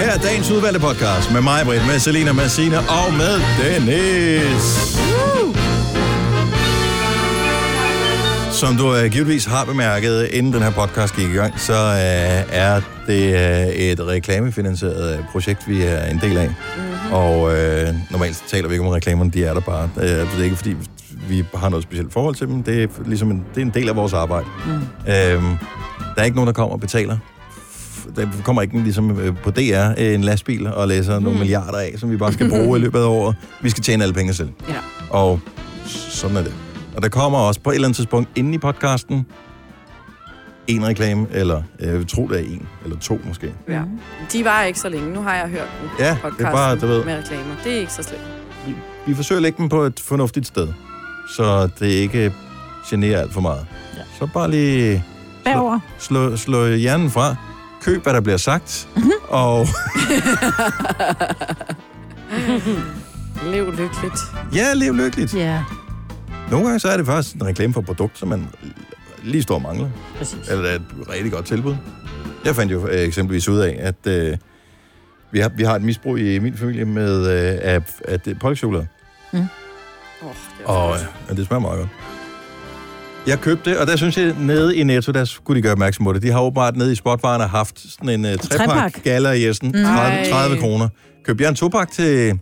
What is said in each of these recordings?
her dagens udvalgte podcast med mig, Britt, med Selina, med Sina og med Dennis. Woo! Som du øh, givetvis har bemærket, inden den her podcast gik i gang, så øh, er det øh, et reklamefinansieret øh, projekt, vi er en del af. Mm-hmm. Og øh, normalt så taler vi ikke om reklamerne, de er der bare. Øh, det er ikke, fordi vi har noget specielt forhold til dem. Det er, ligesom en, det er en del af vores arbejde. Mm. Øhm, der er ikke nogen, der kommer og betaler. F- Der kommer ikke en, ligesom øh, på DR øh, en lastbil og læser nogle milliarder af, som vi bare skal bruge i løbet af året. Vi skal tjene alle penge selv. Ja. Og sådan er det. Og der kommer også på et eller andet tidspunkt inde i podcasten en reklame, eller øh, jeg tror det er en, eller to måske. ja. De var ikke så længe. Nu har jeg hørt den. Ja, det er podcasten bare, du ved. Med reklamer. Det er ikke så slemt. Vi forsøger at lægge dem på et fornuftigt sted, så det ikke generer alt for meget. Ja. Så bare lige Bagover. slå, slå hjernen fra, køb hvad der bliver sagt, og Lev lykkeligt. ja, lev lykkeligt. Ja, Nogle gange så er det faktisk en reklame for et produkt, som man lige står og mangler. præcis. Eller et rigtig godt tilbud. Jeg fandt jo øh, eksempelvis ud af, at øh, vi, har, vi har et misbrug i min familie med øh, af, af det- pålægschokolade. Åh, det var Og så godt. øh, det smager meget godt. Jeg købte det, og der synes jeg, nede i Netto, der skulle de gøre opmærksom på det. De har åbenbart nede i spotvarerne haft sådan en uh, trepak, Trepak. galler i Essen. 30, 30 kroner. Købte jeg en topak til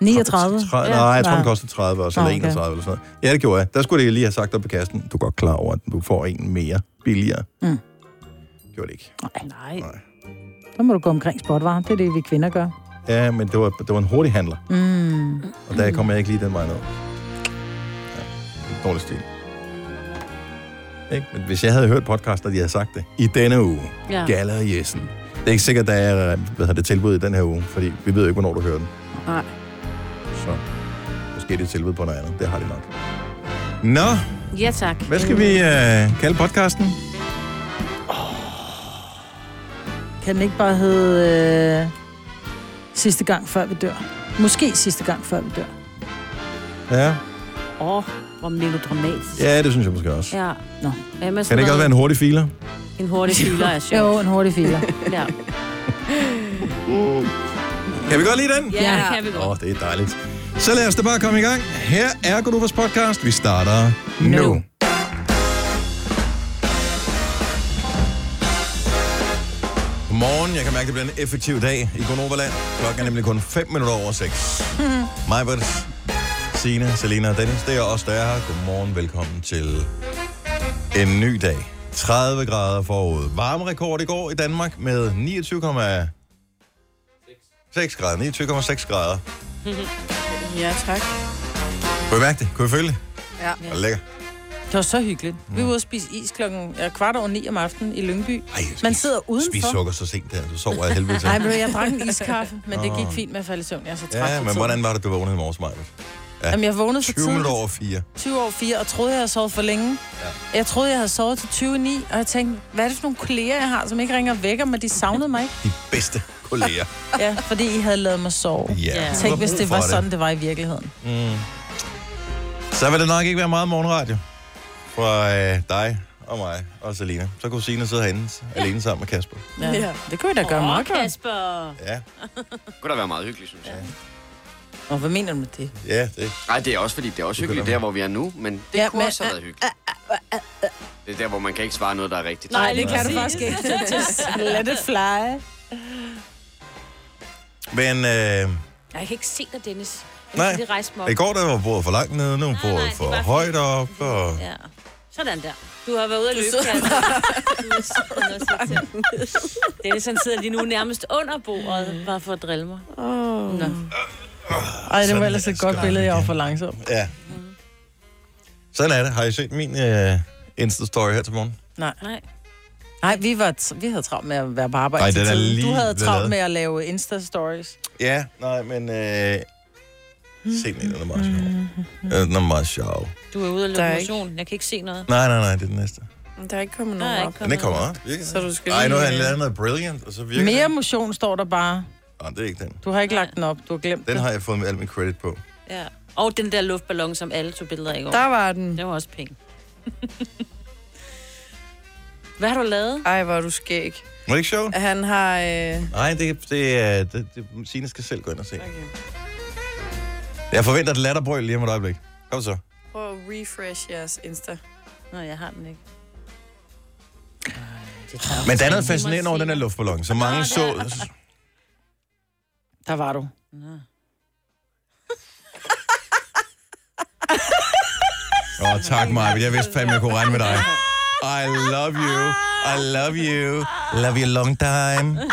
39. 30, nej, jeg tror, den Nej. koster 30 også, Nå, eller okay. 31 eller sådan noget. Ja, det gjorde jeg. Der skulle det lige have sagt op i kassen. Du er godt klar over, at du får en mere billigere. Mm. Gjorde det ikke. Nej, Nej. så må du gå omkring sportvarer. Det er det, vi kvinder gør. Ja, men det var, det var en hurtig handler, Mm. og der kom jeg ikke lige den vej ned. Ja, lidt dårlig stil. Ikke? Men hvis jeg havde hørt podcast, og de havde sagt det, i denne uge, Ja. ja. Gala og Jessen. Det er ikke sikkert, der er øh, hvad hedder det tilbud i den her uge, fordi vi ved jo ikke, hvornår du hører den. Nej. Så måske er det et tilbud på noget andet. Det har de nok. Nå, Ja, tak. Hvad skal vi øh, kalde podcasten? Kan den ikke bare hedde øh, sidste gang, før vi dør? Måske sidste gang, før vi dør. Ja. Åh, oh, hvor melodramatisk. ja, det synes jeg måske også. Ja. Ja. Nå. Ja, men Kan det ikke også være en hurtig filer? en hurtig filer er sjov? Jo, en hurtig filer. Ja. Kan vi godt lide den? ja, det kan vi Åh, godt. oh, det er dejligt. Så lad os da bare komme i gang. Her er Godovas podcast. Vi starter nu. Nu. Godmorgen. Jeg kan mærke, at det bliver en effektiv dag i Gonoverland. Klokken er nemlig kun 5 minutter over 6. Mhm. Mig, Britt, Signe, Selina og Dennis, det er os, der er her. Godmorgen. Velkommen til en ny dag. 30 grader forud. Varmerekord i går i Danmark med 29,6 grader. 29,6 grader. Ja, tak. Kunne I mærke det? Kunne I føle det? Ja. Var det lækker? Det var så hyggeligt. Vi var ude og spise is klokken ja, kvart over ni om aftenen i Lyngby. Mm. Ej, jeg skal Man ikke sidder Spis udenfor. sukker så sent der, så sover jeg af helvede til. Nej, men jeg drak en iskaffe, men det gik fint med at falde i søvn. Jeg er så træt. Ja, for men tiden. hvordan var det, du vågnede i morges, Maja? Jamen, jeg vågnede for 20 tidligt. minutter over 4. 20 over 4, og troede, jeg havde sovet for længe. Ja. Jeg troede, jeg havde sovet til 29, og jeg tænkte, hvad er det for nogle kolleger, jeg har, som ikke ringer og vækker mig? De savnede mig ikke. De bedste kolleger. Ja, fordi I havde lavet mig sove. Ja. Yeah. Tænk, hvis det var sådan, det var i virkeligheden. Mm. Så vil det nok ikke være meget morgenradio fra øh, dig og mig og Selina. Så kunne Signe sidde herinde ja. alene sammen med Kasper. Ja. Det kunne vi da gøre meget godt. Kasper. Ja, Det kunne da være meget hyggeligt, synes jeg. Og hvad mener du med det? ja det. Nej, det er også fordi, det er også hyggeligt være. der, hvor vi er nu, men det Ja, ja, kunne men- men, også have været hyggeligt. Det er der, hvor man kan ikke svare noget, der er rigtigt. Nej, det kan du faktisk ikke. Just let it fly. Men øh, Jeg kan ikke se dig, Dennis. Jeg Nej. kan lige rejse mig op. i går der var bordet for langt nede, nu er nej, bordet det for var fint. højt op. Og... Ja. Sådan der. Du har været ude at løbe, Kasper. Dennis, han sidder lige nu nærmest under bordet, bare for at drille mig. øh, Ej, det Sådan var ellers er et godt skrald billede, jeg var igen. for langsom. Ja. Sådan er det. Har I set min øh, Insta-story her til morgen? Nej. Nej. Nej, vi, var t- vi havde travlt med at være på arbejde. Ej, til den er tiden. lige du havde ved travlt lavet. med at lave Insta-stories. Ja, nej, men... Øh... Mm. Se den, den er meget Mm. sjov. Ja, Den er meget sjov. Du er ude at Der løbe er ikke- motion. Jeg kan ikke se noget. Nej, nej, nej, det er den næste. Der er ikke kommet Der nogen er op. ikke Den kommet er ikke kommet op, virkelig. Så du skal Ej, nu har han lige, øh, lavet noget brilliant, og så virker Mere den. motion står der bare. Nej, det er ikke den. Du har ikke lagt den op, du har glemt Den det. har jeg fået med al min credit på. Ja. Og den der luftballon, som alle tog billeder af i går. Der var den. Det var også penge. Hvad har du lavet? Ej, hvor er du skæg. det ikke sjovt? Han har... Øh... Nej, det, det, er- det, det, Signe skal selv gå ind og se. Okay. Jeg forventer et latterbrøl lige om et øjeblik. Kom så. Prøv at refresh jeres Insta. Nå, jeg har den ikke. Men der er noget fascinerende over den her luftballon, så mange så... Der var du. Åh, oh, tak mig, jeg vidste fandme, jeg kunne regne med dig. I love you. I love you. Love you long time.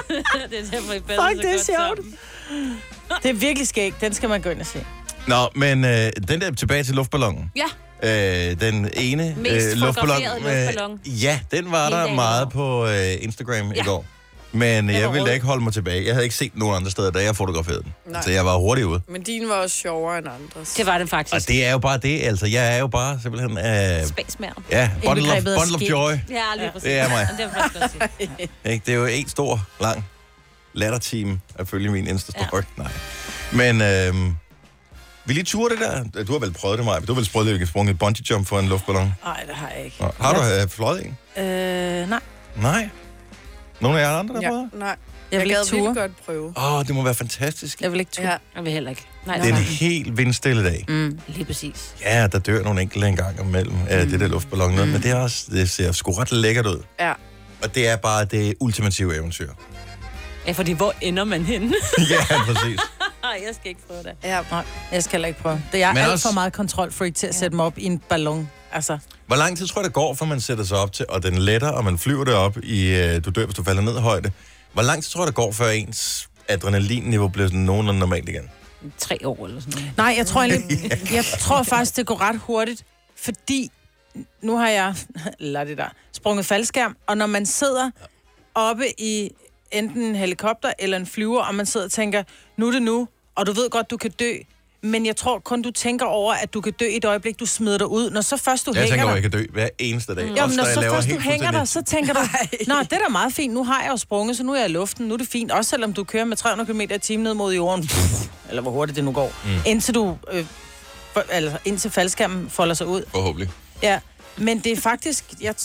det er derfor, I passer Fuck, så det er godt sjovt. sammen. Det er virkelig skægt. Den skal man gå ind og se. Nå, men øh, den der tilbage til luftballonen. Ja, Øh, den ene øh, Mest luftballon, fotograferede med- luftballon. Ja, den var Hele der dagen meget over. på øh, Instagram ja. i Ja. går. Men jeg var ville da rød. ikke holde mig tilbage. Jeg havde ikke set nogen andre steder, da jeg fotograferede den. Nej. Nej. Så jeg var hurtigt ude. Men din var også sjovere end andres. det var den Og faktisk. Det... det er jo bare det, altså. Jeg er jo bare simpelthen... Øh, Spasmæren. ja, bundle of, Indbegrebet af bundle of skæg. joy. Ja, lige præcis. Det er mig. Det er faktisk godt set. Ikke? Det er jo en stor, lang lattertime at følge min Insta-story. Ja. Nej. Men øh, vil I ture det der? Du har vel prøvet det, Maja. Du har vel prøvet at kan sprunge et bungee jump for en luftballon? Nej, det har jeg ikke. Nå, Har du øh, fløjet en? Øh, nej. Nej. Nogle af jer andre, der ja. Ja. prøver? Nej, Jeg vil jeg ikke gad ture. vildt godt prøve. Åh, oh, det må være fantastisk. Jeg vil ikke ture. Ja. Jeg vil heller ikke. Nej, Det er en nej. helt vindstille dag. Mm. Lige præcis. Ja, der dør nogle enkelte en gang imellem af mm. det der luftballon. Mm. Men det, er også, det ser sgu ret lækkert ud. Ja. Og det er bare det ultimative eventyr. Ja, fordi hvor ender man henne? ja, præcis. Nej, jeg skal ikke prøve det. Ja, Nej, jeg skal heller ikke prøve. Det er Men alt også- for meget kontrolfreak til at sætte mig op i en ballon. Altså, Hvor lang tid tror jeg, det går, før man sætter sig op til, og den letter, og man flyver derop i, øh, du dør, hvis du falder ned i højde. Hvor lang tid tror jeg, det går, før ens adrenalinniveau bliver sådan nogenlunde normalt igen? Tre år eller sådan noget. nej, jeg tror, egentlig, jeg tror faktisk, det går ret hurtigt, fordi nu har jeg, lad det der, sprunget faldskærm, og når man sidder oppe i enten en helikopter eller en flyver, og man sidder og tænker, nu er det nu, og du ved godt, du kan dø, men jeg tror kun, du tænker over, at du kan dø i et øjeblik, du smider dig ud. Når så først du Jeg hænger tænker over, dig, at jeg kan dø hver eneste dag. Jo, Også men når når jeg så laver først du helt hænger dig, fuldstændig- så tænker du, Nå, det er da meget fint, nu har jeg jo sprunget, så nu er jeg i luften, nu er det fint. Også selvom du kører med 300 km i timen ned mod jorden, pff, eller hvor hurtigt det nu går, mm. indtil du, øh, for, altså, indtil faldskærmen folder sig ud. Forhåbentlig. Ja, men det er faktisk, jeg,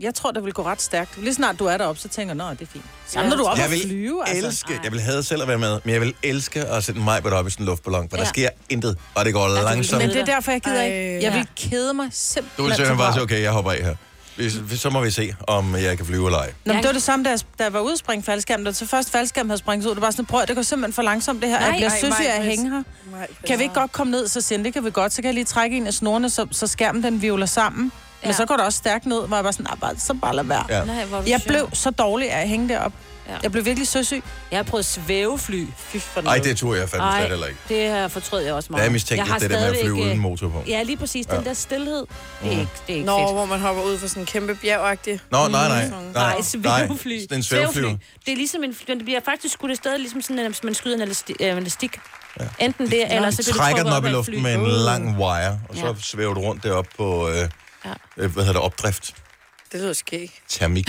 jeg tror, det vil gå ret stærkt. Lige snart du er deroppe, så tænker jeg, nå, det er fint. Samler du op jeg og vil flyve, elske, altså. jeg vil have selv at være med, men jeg vil elske at sætte mig op i sådan en luftballon, for ja. der Ja. sker intet, og det går altså, langsomt. Men det er derfor, jeg gider Ej, ikke. Jeg ja. vil kede mig Du simpelthen. vil til simpelthen bare vrag. sige, okay, jeg hopper af her. Hvis- hvis- Så må vi se, om jeg kan flyve eller ej. Nå, men det var det samme, da jeg, da jeg var ude at springe faldskærmen. Da så først faldskærmen havde springet ud, det var sådan, prøv, at- det går simpelthen for langsomt det her. Nej, jeg bliver ej, søsyg af at Maj-Brit. hænge her. nej. Kan vi ikke godt komme ned, så siger han, det kan vi godt. Så kan jeg lige trække en af snorene, så, så skærmen den vivler sammen. Ja. Men Ja. så går det også stærkt ned, hvor jeg bare sådan, "Ah, bare, så bare lad være. Ja. Ja. Nej, hvor er du Jeg sjov. blev så dårlig af at hænge derop. Ja. Ja. Jeg blev virkelig søsyg. Jeg har prøvet svævefly. Fy for Ej, det tror jeg fandme slet heller ikke. det her fortrød jeg også meget. Der er mistænkt, Jeg har at det der med at stadigvæk, flyve uden øh, motor på. Mm. Ja, lige præcis. Den der stillhed. Det er ikke, det er ikke Nå, fedt. hvor man hopper ud fra sådan en kæmpe bjergagtig. Nå, nej, nej. Nej, svævefly. Nej, en svævefly. Det er ligesom en, den bliver faktisk skudt afsted, ligesom sådan, at man skyder en elasti- øh, en elastik. Ja. Enten det, eller så Du bliver du trækker trukket den op af i et luften fly. med en Mm. lang wire, og så Ja. svæver du rundt deroppe på, øh, øh, hvad hedder det, opdrift. Mm. Det lyder skægt. Termik.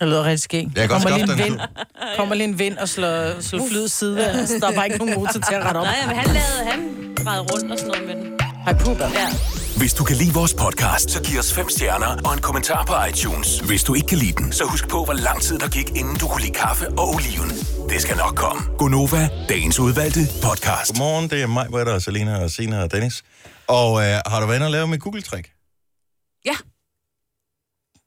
Det lyder rigtig skægt. Jeg kan godt kommer, skaffe lige den. en vind, kommer lige en vind og slår, slår flyet side. af, så Der er bare ikke nogen motor til at rette op. Nej, men han lavede, han drejede rundt og sådan noget med den. Hej, puber. Ja. Hvis du kan lide vores podcast, så giv os fem stjerner og en kommentar på iTunes. Hvis du ikke kan lide den, så husk på, hvor lang tid der gik, inden du kunne lide kaffe og oliven. Det skal nok komme. Gonova, dagens udvalgte podcast. Godmorgen, det er mig, Britta, og Selina, og Sina og Dennis. Og øh, har du været inde og lave mit Google-trick? Ja,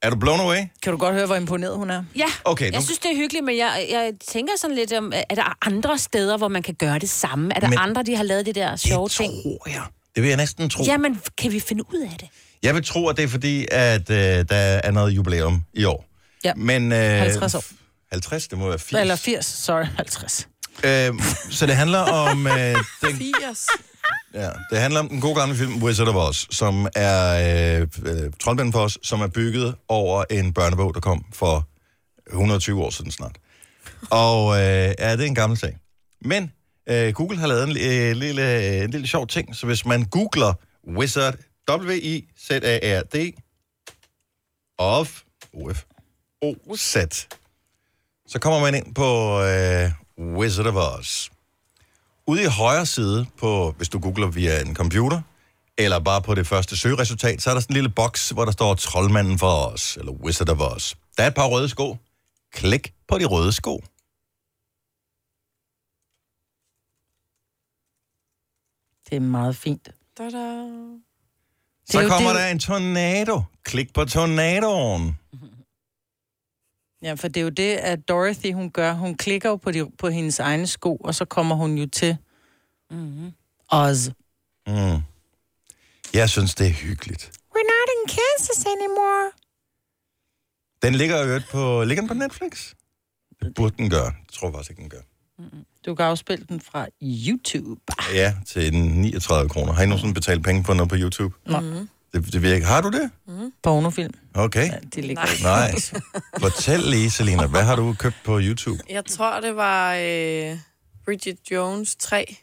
Er du blown away? Kan du godt høre, hvor imponeret hun er? ja. Okay, jeg nu- synes, det er hyggeligt, men jeg, jeg tænker sådan lidt om, er der andre steder, hvor man kan gøre det samme? Er der Men- men, andre, de har lavet det der sjove ting? tror jeg. Det vil jeg næsten tro. Ja. Jamen, kan vi finde ud af det? Jeg vil tro, at det er fordi, at øh, der er noget jubilæum i år. Ja. Men, øh, 50 år. 50, det må være 80. Eller 80, sorry, 50. Øh, så det handler om... Øh, den, Fias. Ja, det handler om den gode gamle film Wizard of Oz, som er øh, øh, troldmanden for os, som er bygget over en børnebog, der kom for 120 år siden snart. Og øh, ja, det er en gammel sag. Men øh, Google har lavet en, øh, lille, øh, en lille sjov ting, så hvis man googler Wizard, W-I-Z-A-R-D, of, O-F, O-Z, så kommer man ind på øh, Wizard of Oz. Ude i højre side, på, hvis du googler via en computer, eller bare på det første søgeresultat, så er der sådan en lille boks, hvor der står troldmanden for os, eller Wizard of Oz. Der er et par røde sko. Klik på de røde sko. Det er meget fint. Da-da. Så er jo- kommer det er der en tornado. Klik på tornadoen. Ja, for det er jo det, at Dorothy, hun gør. Hun klikker jo på, de, på hendes egne sko, og så kommer hun jo til mm-hmm. Oz. Mm. Jeg synes, det er hyggeligt. We're not in Kansas anymore. Den ligger jo på, ligger den på Netflix? Det burde den gøre. Jeg tror faktisk ikke, den gør. Du kan afspille den fra YouTube. Ja, til den 39 kroner. Har I nogensinde betalt penge for noget på YouTube? Nej. Det, det virker. Har du det? Pornofilm. Okay. Ja, det ligger ikke. Nej. Fortæl lige, Selina, hvad har du købt på YouTube? Jeg tror, det var øh, Bridget Jones 3.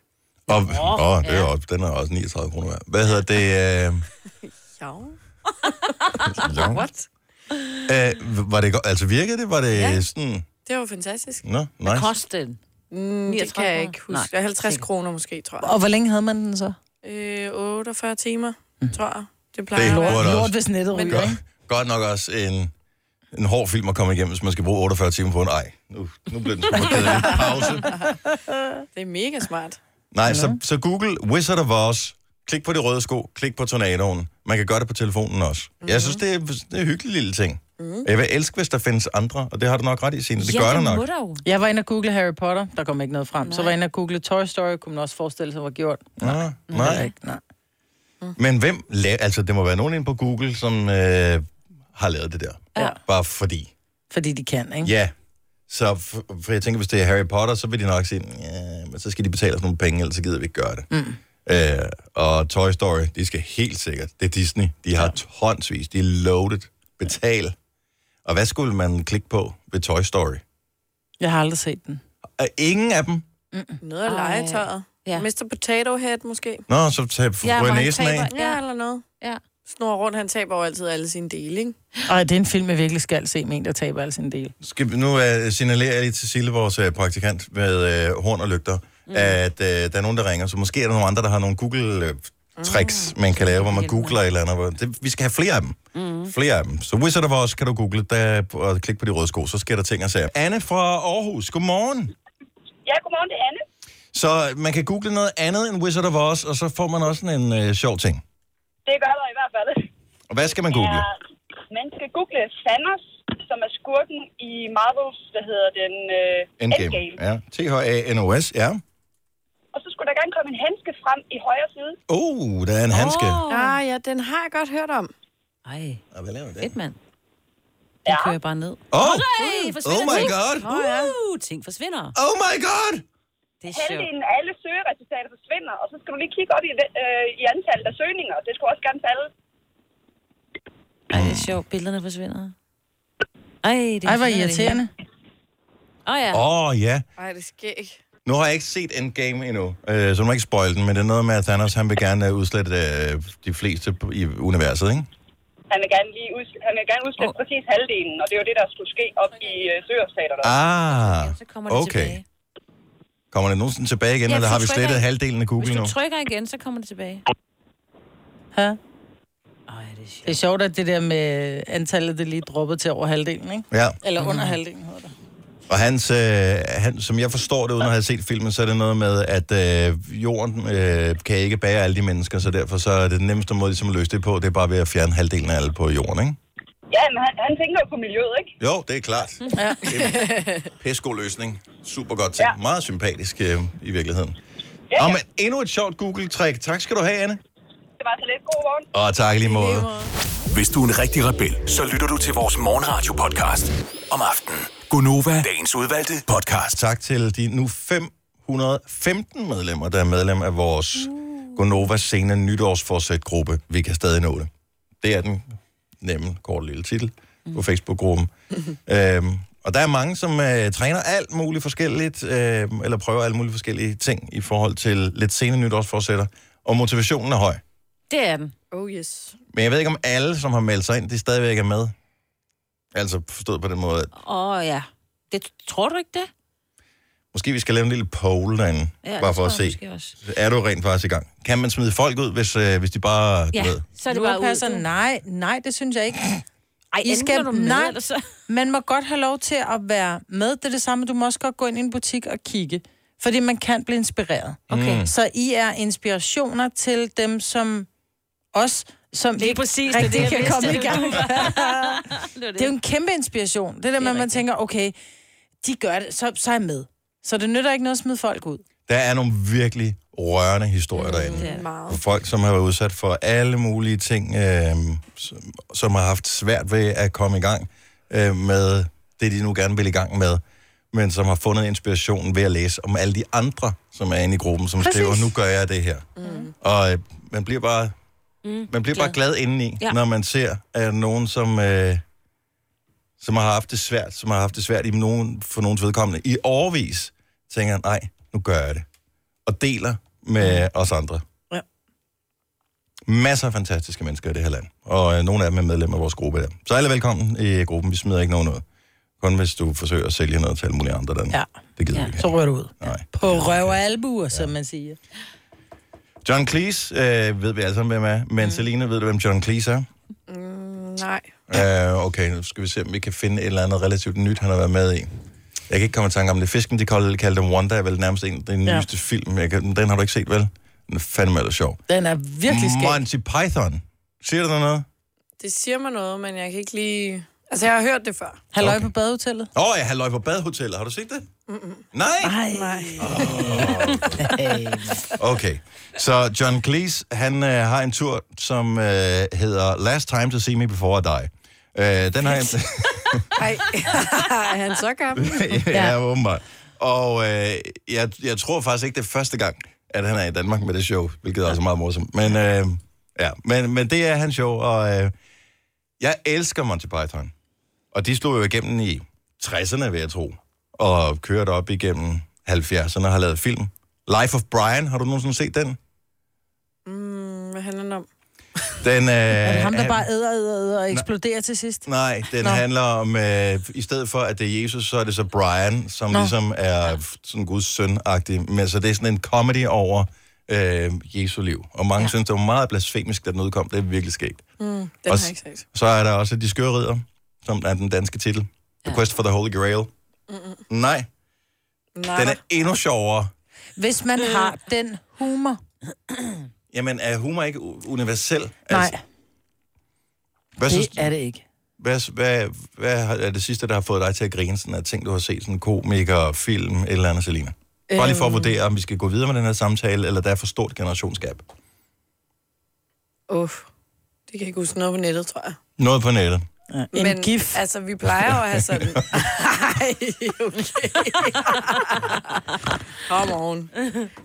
Og, åh, det er jo, den er også 39 kroner værd. Hvad hedder det? Øh, Ja. long? What? Øh, var det godt? Altså virkede det? Var det ja. Ja. sådan... Det var fantastisk. Nå, nice. Kosten. Mm, det 39 kan jeg kroner? ikke huske. 50 kroner måske, tror jeg. Og hvor længe havde man den så? Øh, 48 timer, Mm. tror jeg. Det Det plejer at være. burde Lort, også- hvis nettet ryger, Godt, ikke? godt nok også en, en hård film at komme igennem, hvis man skal bruge 48 timer på en ej. Nu, nu bliver den sgu for kedelig. Pause. Det er mega smart. Nej, så, så Google Wizard of Oz. Klik på de røde sko. Klik på tornadoen. Man kan gøre det på telefonen også. Mm-hmm. Jeg synes, det er, det er en hyggelig lille ting. Mm. Jeg vil elske, hvis der findes andre, og det har du nok ret i, Signe. Det ja, gør der nok. må der jo. Jeg var inde og google Harry Potter. Der kom ikke noget frem. Nej. Så var jeg inde og google Toy Story. Kunne man også forestille sig, var gjort. Nej, Heller nej. Mhm. ikke, Nej. Men hvem laver... Altså, det må være nogen inde på Google, som øh, har lavet det der. Ja. Bare fordi. Fordi de kan, ikke? Ja. Så for, for jeg tænker, hvis det er Harry Potter, så vil de nok sige, ja, men så skal de betale os nogle penge, ellers så gider vi ikke gøre det. Mm. Øh, og Toy Story, de skal helt sikkert. Det er Disney. De har tonsvis. De er loaded. Betal. Og hvad skulle man klikke på ved Toy Story? Jeg har aldrig set den. Er ingen af dem? Noget af Ej. legetøjet. Ja. Ja. Mr. Potato Head måske. Nå, så tag Ja, hvor ja, han næsen af. taber- Ja, ja eller noget. Ja. Snor rundt, han taber jo altid alle sine dele, ikke? Og det er en film, jeg virkelig skal se med en, der taber al sin del. Skal vi, nu uh, signalerer jeg lige til Sille, vores uh, praktikant med uh, horn og lygter, mm. at uh, der er nogen, der ringer, så måske er der nogle andre, der har nogle Google-tricks, man kan lave, hvor man googler et eller andet. hvor- Det, vi skal have flere af dem. Mm. Flere af dem. Så Wizard of Oz kan du google der, og klikke på de røde sko, så sker der ting og sager. Anne fra Aarhus, godmorgen. Ja, godmorgen, det er Anne. Så man kan google noget andet end Wizard of Oz, og så får man også sådan en uh, sjov ting. Det gør der i hvert fald. Og hvad skal man google? Ja, man skal google Thanos, som er skurken i Marvels, hvad hedder den, øh, Endgame. Ja. T-H-A-N-O-S, ja. Og så skulle der gerne komme en handske frem i højre side. Oh, der er en handske. Åh. Ah, ja, den har jeg godt hørt om. Ej, Og Hvad laver det? fedt mand. Den Ja. kører bare ned. Oh, Hey, forsvinder Oh my ting. God. Oh, ja. uh, ting forsvinder. oh my god! Det er sjovt. Halvdelen af alle søgeresultater forsvinder, og så skal du lige kigge op i, det, øh, i antallet af søgninger. Det skulle også gerne falde. Ej, det er sjovt. Billederne forsvinder. Ej, det er Ej, hvor forsvinder irriterende. det hele. Åh oh, ja. Åh, oh, ja. Ej, det sker ikke. Nu har jeg ikke set Endgame endnu, øh, så du må ikke spoil den, men det er noget med, at Thanos han vil gerne øh, udslette øh, de fleste på- i universet, ikke? Han vil gerne, lige ud, han vil gerne udslætte oh. præcis halvdelen, og det er jo det, der skulle ske op i øh, søgeresultaterne. Ah, Så kommer det okay. tilbage. Kommer det nogensinde tilbage igen, Ja, ja, eller hvis har du vi trykker slettet i- halvdelen af Hvis Google nu? du trykker igen, så kommer det tilbage. Ja. Ej, det er sjovt. Det er sjovt, at det der med antallet, det lige droppede til over halvdelen, ikke? Ja, Eller under halvdelen, hedder det. og hans, øh, han, som jeg forstår det, uden at have set filmen, så er det noget med, at øh, jorden øh, kan ikke bære alle de mennesker, så derfor så er det den nemmeste måde ligesom, at løse det på, det er bare ved at fjerne halvdelen af alle på jorden, ikke? Ja, men han, han tænker jo på miljøet, ikke? Jo, det er klart. Ja. Pæsko løsning. Super godt ting. Ja. Ja. Meget sympatisk øh, i virkeligheden. Ja, ja. men endnu et sjovt Google-trick. Tak skal du have, Anne. Det var så lidt god morgen. Og tak i lige måde. Hvis du er en rigtig rebel, så lytter du til vores morgenradio-podcast om aftenen. Gunova, dagens udvalgte podcast. Tak til de nu 515 medlemmer, der er medlem af vores uh. Gonova Sena nytårsforsæt-gruppe. Vi kan stadig nå det. Det er den nemme, korte lille titel på Facebook-gruppen. øhm, og der er mange, som øh, træner alt muligt forskelligt, øh, eller prøver alt muligt forskellige ting i forhold til lidt sene nytårsforsætter. Og motivationen er høj. Det er den. Oh yes. Men jeg ved ikke, om alle, som har meldt sig ind, de stadigvæk er med. Altså forstået på den måde, at Åh oh, ja. Det tror du ikke det? måske vi skal lave en lille poll derinde, ja, det bare for tror at jeg se. måske også. Er du rent faktisk i gang? Kan man smide folk ud, hvis, øh, hvis de bare... Ja. Ja, Ved? så er det Nora bare ud. passer, nej, nej, det synes jeg ikke. Ej, I enten er skal, du med, nej, eller så- man må godt have lov til at være med. Det er det samme, du må også godt gå ind i en butik og kigge. Fordi man kan blive inspireret. Okay. Mm. Så I er inspirationer til dem, som os, som Lige præcis, det er rigtig det, jeg kan komme i vidste. gang. det, det er jo en kæmpe inspiration. Det der med, at man tænker, okay, de gør det, så, så er jeg med. Så det nytter ikke noget at smide folk ud. Der er nogle virkelig rørende historier Mm, derinde. For folk, som har været udsat for alle mulige ting, øh, som, som har haft svært ved at komme i gang øh, med det, de nu gerne vil i gang med, men som har fundet inspirationen ved at læse om alle de andre, som er inde i gruppen, som Præcis. Præcis. skriver, nu gør jeg det her. Mm. Og øh, man bliver bare Mm. man bliver glad. bare glad indeni, ja. Ja. når man ser at nogen, som, øh, som har haft det svært, som har haft det svært i nogen, for nogens vedkommende, i årvis, tænker, nej, nu gør jeg det. Og deler med os andre. Ja. Masser af fantastiske mennesker i det her land. Og øh, nogle af dem er medlemmer af vores gruppe der. Så alle er velkommen i øh, gruppen. Vi smider ikke nogen ud. Kun hvis du forsøger at sælge noget til alle mulige andre. Den. Ja. Det gider ja. vi ikke. Så rører du ud. Nej. På røv og albuer, som man siger. John Cleese øh, ved vi alle sammen, hvem er. Men mm. Selina, ved du, hvem John Cleese er? Mm, nej. Uh, okay, nu skal vi se, om vi kan finde et eller andet relativt nyt, han har været med i. Jeg kan ikke komme i tanke om det. Fisken, de kaldte, kaldte dem Wanda, er vel nærmest en af den Ja. nyeste film. Jeg kan, den har du ikke set, vel? Den er fandme ellers sjov. Den er virkelig skæg. Monty Python. Siger du dig noget? Det siger mig noget, men jeg kan ikke lige... Altså, jeg har hørt det før. Halløj okay. på badehotellet. Åh, oh, ja, halløj på badehotellet. Har du set det? Mm-mm. Nej! Nej. Okay. Så John Cleese, han øh, har en tur, som øh, hedder Last Time to See Me Before I Die. Øh, den har jeg... Ej, er han så gammel? ja, ja, åbenbart. Og øh, jeg, jeg tror faktisk ikke, det er første gang, at han er i Danmark med det show, hvilket er også meget morsomt. Men, øh, ja, men, men det er hans show, og øh, jeg elsker Monty Python. Og de slog jo igennem i 60'erne, vil jeg tro, og kørte op igennem 70'erne og har lavet film. Life of Brian, har du nogensinde set den? Mm, hvad handler den om? den øh, Er det ham, der han- bare æder, æder, æder og eksploderer til sidst? Nej, den Nå. Nå. handler om, øh, i stedet for at det er Jesus, så er det så Brian, som Nå. Nå. ligesom er f- sådan Guds søn-agtig. Men så det er sådan en comedy over øh, Jesu liv. Og mange ja. synes, det var meget blasfemisk, da den udkom. Det er virkelig skægt. Mm, den Og har s- jeg ikke set. Så er der også De Skøre Ridder, som er den danske titel. The Quest for the Holy Grail. Mm-mm. Nej, Nej. den er endnu sjovere. Hvis man har den humor. Jamen, er humor ikke u- universel? Nej, Hvad synes, det er det ikke. Hvad, hvad, hvad har- er det sidste, der har fået dig til at grine, sådan af ting, du har set, sådan komiker, film, et eller andet, Selina? Bare lige for at Øhm. vurdere, om vi skal gå videre med den her samtale, eller der er for stort generationsgab. Uff, det kan jeg ikke huske noget på nettet, tror jeg. Noget på nettet. En Men, gif. altså, vi plejer jo at have sådan... Ej, okay. Come on.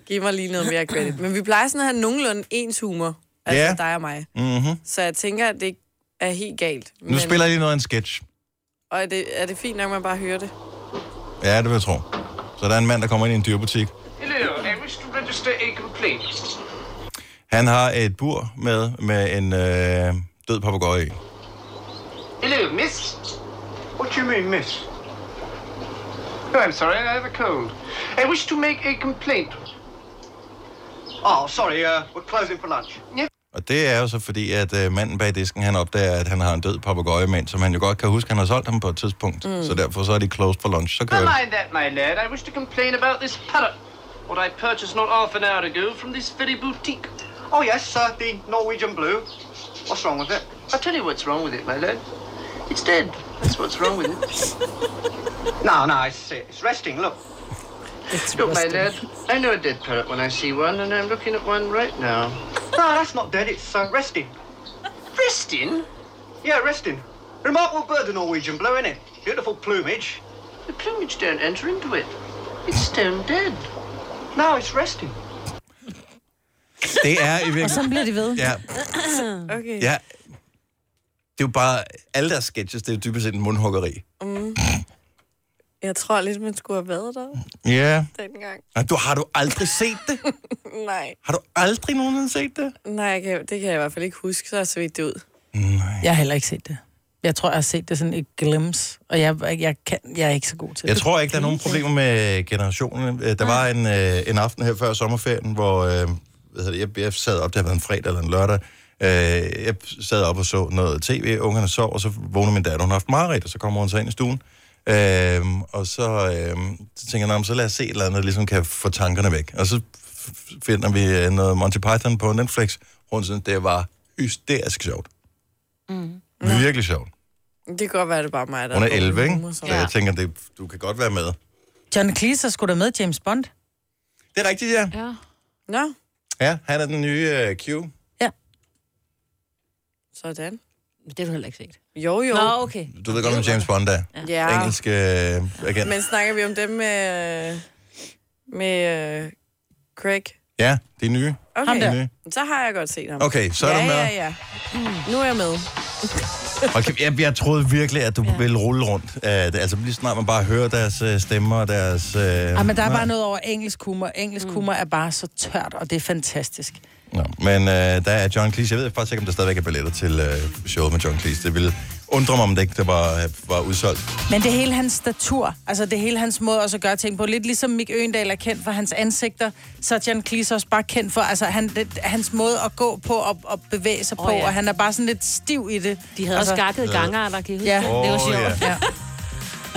Giv mig lige noget mere credit. Men vi plejer sådan at have nogenlunde ens humor. Altså, Ja. dig og mig. Mm-hmm. Så jeg tænker, at det ikke er helt galt. Nu Men... spiller jeg lige noget af en sketch. Og er det, er det fint nok, at man bare hører det? Ja, det vil jeg tro. Så der er en mand, der kommer ind i en dyrebutik. Hello, I wish to register a complaint. Han har et bur med, med en øh, død papegøje i. Hello, miss. What do you mean, miss? Oh, I'm sorry, I have a cold. I wish to make a complaint. Oh, sorry, uh, we're closing for lunch. Og det er jo så fordi, at øh, manden bag disken, han opdager, at han har en død papegøjemand, som han jo godt kan huske, han har solgt ham på et tidspunkt. Mm. Mm. Så derfor så er de closed for lunch. Så kører Never det. mind that, my lad. I wish to complain about this parrot. What I purchased not half an hour ago from this very boutique. Oh, yes, sir, the Norwegian blue. What's wrong with it? I'll tell you what's wrong with it, my lad. It's dead. That's what's wrong with it. no, no, it's, it's resting. Look. Look, my lad, I know a dead parrot when I see one, and I'm looking at one right now. No, that's not dead, it's uh, resting. Resting? Yeah, resting. Remarkable bird, the Norwegian blue, innit? Beautiful plumage. The plumage don't enter into it. It's stone dead. Now it's resting. Det er i virkeligheden... Og så bliver de ved. Ja, Okay. Ja. Det er jo bare... Alle deres sketches, det er jo dybest set en mundhuggeri. Mm. Jeg tror lidt, man skulle have været der Ja. dengang. Ah, Du, har du aldrig set det? Nej. Har du aldrig nogensinde set det? Nej, jeg kan, det kan jeg i hvert fald ikke huske, så så vidt det ud. Jeg har heller ikke set det. Jeg tror, jeg har set det sådan et glimt, og jeg, jeg, kan, jeg er ikke så god til Jeg det. tror ikke, der er nogen problemer med generationen. Der var en, øh, en aften her før sommerferien, hvor øh, hvad hedder det, jeg, jeg sad op, det har været en fredag eller en lørdag, Øh, jeg sad op og så noget tv, ungerne sov, og så vågner min datter, hun har haft mareridt, og så kommer hun så ind i stuen. Øh, og så, øh, så tænker jeg, "Nå, men så lad os se et eller andet, der ligesom kan få tankerne væk. Og så f- f- finder vi øh, noget Monty Python på Netflix. Hun synes, det var hysterisk sjovt. Mm. Virkelig sjovt. Det kan godt være, det er bare mig, der... Hun er dårlig 11, ikke? humor, så. Så jeg tænker, det, du kan godt være med. John Cleese er sgu da med James Bond. Det er rigtigt, ja. Ja. Nå, Ja, han er den nye øh, Q. sådan. Det har du heller ikke set. Jo, jo. Nå, okay. Du ved godt, om James Bond er. Ja. Engelsk øh, agent. Men snakker vi om dem med... øh, Med øh, Craig? Ja, det er nye. Okay. Det er nye. Så har jeg godt set ham. Okay, så er ja, du med. Ja, ja, ja. Nu er jeg med. Okay, jeg, jeg troede virkelig, at du ja. ville rulle rundt. Uh, det, altså lige snart man bare hører deres uh, stemmer og deres... Uh, Ja, men der er bare noget over engelsk humor. Engelsk mm. humor er bare så tørt, og det er fantastisk. Nå, men uh, der er John Cleese. Jeg ved faktisk ikke, om der stadigvæk er billetter til uh, showet med John Cleese. Det ville undre mig, om det ikke der var, øh, var udsolgt. Men det er hele hans statur, altså det er hele hans måde også at gøre ting på. Lidt ligesom Mick Øgendal er kendt for hans ansigter, så er John Cleese også bare kendt for, altså han, det, hans måde at gå på og, og bevæge sig oh, Åh, på, ja. ja. og han er bare sådan lidt stiv i det. De havde altså, også gakkede gangarter, kan I huske? Ja. Det var Åh, sjovt. ja.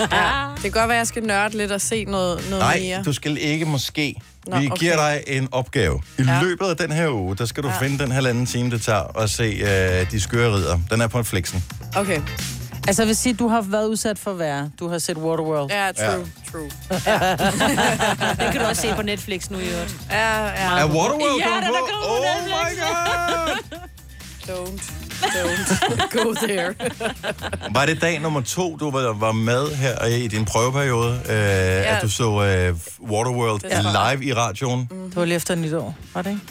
Ja. Det kan godt være, at jeg skal nørde lidt og se noget, noget Nej, mere. du skal ikke måske. Nå, Nå, Vi okay. giver dig en opgave. I ja. løbet af den her uge, der skal du ja. finde den halvanden time, det tager at se øh, De Skøre Ridder. Den er på en flexen. Okay. Altså jeg vil sige, du har været udsat for værre. Du har set Waterworld. Ja, true, Ja. ja. true. Det kan du også se på Netflix nu i øvrigt. Ja, ja. Er Waterworld Ja, kommet den er på? kommet på Oh my Netflix. god! Don't, don't go there. Var det dag nummer to, du var, var med her i din prøveperiode, øh, ja. at du så øh, Waterworld Det tror live i radioen? Mm. Det var lige efter nytår, var det ikke?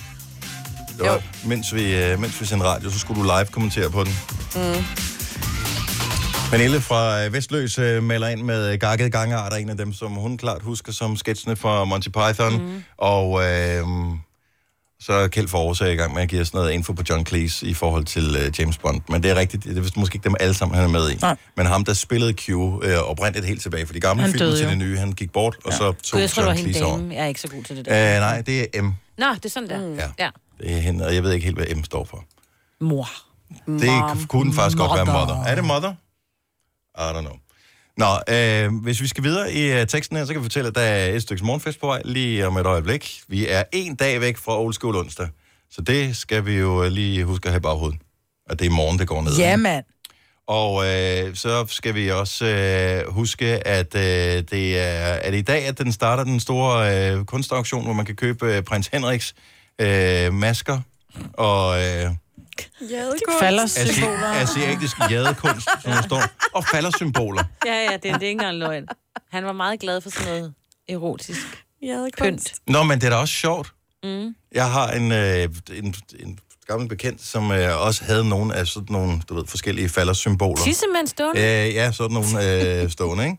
Det var, mens, vi, øh, mens vi sendte radio, så skulle du live kommentere på den. Mm. Pernille fra øh, Vestløs øh, melder ind med øh, gakkede gangarter, en af dem, som hun klart husker som sketsene fra Monty Python. Mhm. Mm. Og øh, så er Kjeld Forårs i gang med at give os sådan noget info på John Cleese i forhold til øh, James Bond. Men det er rigtigt, det er vist måske ikke dem alle sammen, han er med i. Nej. Men ham, der spillede Q øh, oprindeligt helt tilbage for de gamle Han film døde til jo. det nye, han gik bort, og så tog Gud, jeg tror, det var John hende Cleese over. dame. Jeg er ikke så god til det der. Øh, nej, det er M. Nå, det er sådan der. Mm. Ja. Ja. Det er hende, og jeg ved ikke helt, hvad M står for. Mor. Det kunne faktisk godt være Mother. mother. Er det mother? I don't know. Nå, øh, hvis vi skal videre i øh, teksten her, så kan vi fortælle, at der er et stykke morgenfest på vej lige om et øjeblik. Vi er en dag væk fra Old School onsdag, så det skal vi jo øh, lige huske at have i baghovedet. Og det er i morgen, det går ned. Ja, mand. Og øh, så skal vi også øh, huske, at øh, det er, er det i dag, at den starter den store øh, kunstauktion, hvor man kan købe øh, prins Henriks øh, masker og... Øh, Falder Asi- symboler. asiatisk jadekunst, som der står, og faldersymboler. Ja, ja, det, det er ikke engang løgn. Han var meget glad for sådan noget erotisk pynt. Nå, men det er da også sjovt. Mm. Jeg har en, øh, en, en gammel bekendt, som øh, også havde nogle af sådan nogle, du ved, forskellige faldersymboler. Tissemand stående. Øh, ja, sådan nogle øh, stående, ikke?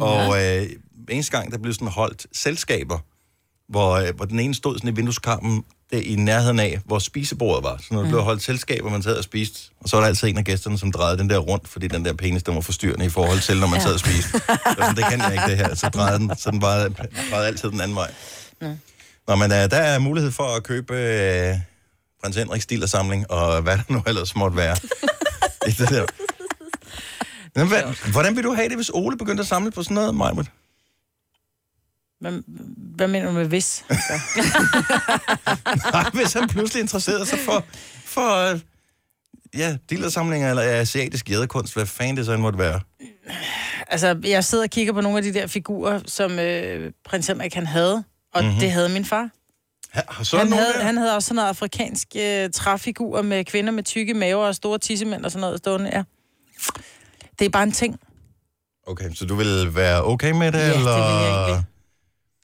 Og øh, eneste gang, der blev sådan holdt selskaber, hvor, øh, hvor den ene stod sådan i vindueskarmen, der i nærheden af, hvor spisebordet var. Så når der blev holdt selskaber, man sad og spiste, og så var der altid en af gæsterne, som drejede den der rundt, fordi den der penis, den var forstyrrende i forhold til, når man sad og spiste. Det, var sådan, det kan jeg ikke, det her. Så drejede den, så den bare, drejede altid den anden vej. Nå, men øh, der er mulighed for at købe øh, prins Henriks stil og samling, og hvad der nu ellers måtte være. det er det der. Men, hvad, hvordan vil du have det, hvis Ole begyndte at samle på sådan noget, Majbert? Hvad, hvad mener du med hvis? Nej, hvis han pludselig interesserede sig for, for øh, ja, dealersamlinger eller asiatisk jæderkunst, hvad fanden det så end måtte være. Altså, jeg sidder og kigger på nogle af de der figurer, som øh, prins Henrik han havde, og Mhm. mm-hmm. det havde min far. Ha, så er der Han nogen havde, der? han havde også sådan noget afrikansk øh, træfigurer med kvinder med tykke maver og store tissemænd og sådan noget stående, ja. Det er bare en ting. Okay, så du vil være okay med det, Ja, det eller? vil jeg egentlig.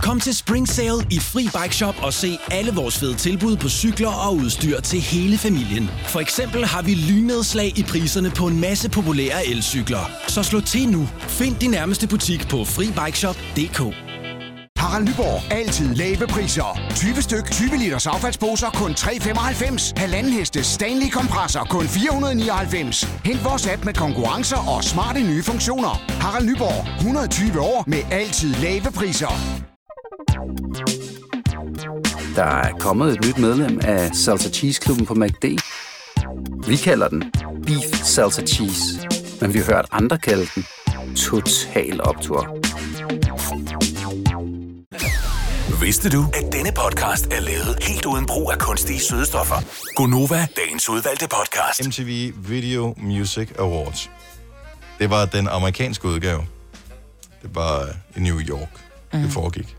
Kom til Spring Sale i Fri Bike Shop og se alle vores fede tilbud på cykler og udstyr til hele familien. For eksempel har vi lynedslag i priserne på en masse populære elcykler. Så slå til nu. Find din nærmeste butik på FriBikeShop.dk Harald Nyborg. Altid lave priser. 20 styk, 20 liters affaldsposer kun 3,95. Halvanden heste Stanley kompresser kun 499. Hent vores app med konkurrencer og smarte nye funktioner. Harald Nyborg. 120 år med altid lave priser. Der er kommet et nyt medlem af Salsa Cheese Klubben på MACD. Vi kalder den Beef Salsa Cheese, men vi har hørt andre kalde den Total Optor. Vidste du, at denne podcast er lavet helt uden brug af kunstige sødestoffer? Gonova, dagens udvalgte podcast. MTV Video Music Awards. Det var den amerikanske udgave. Det var øh, i New York, mm. Mhm. det foregik.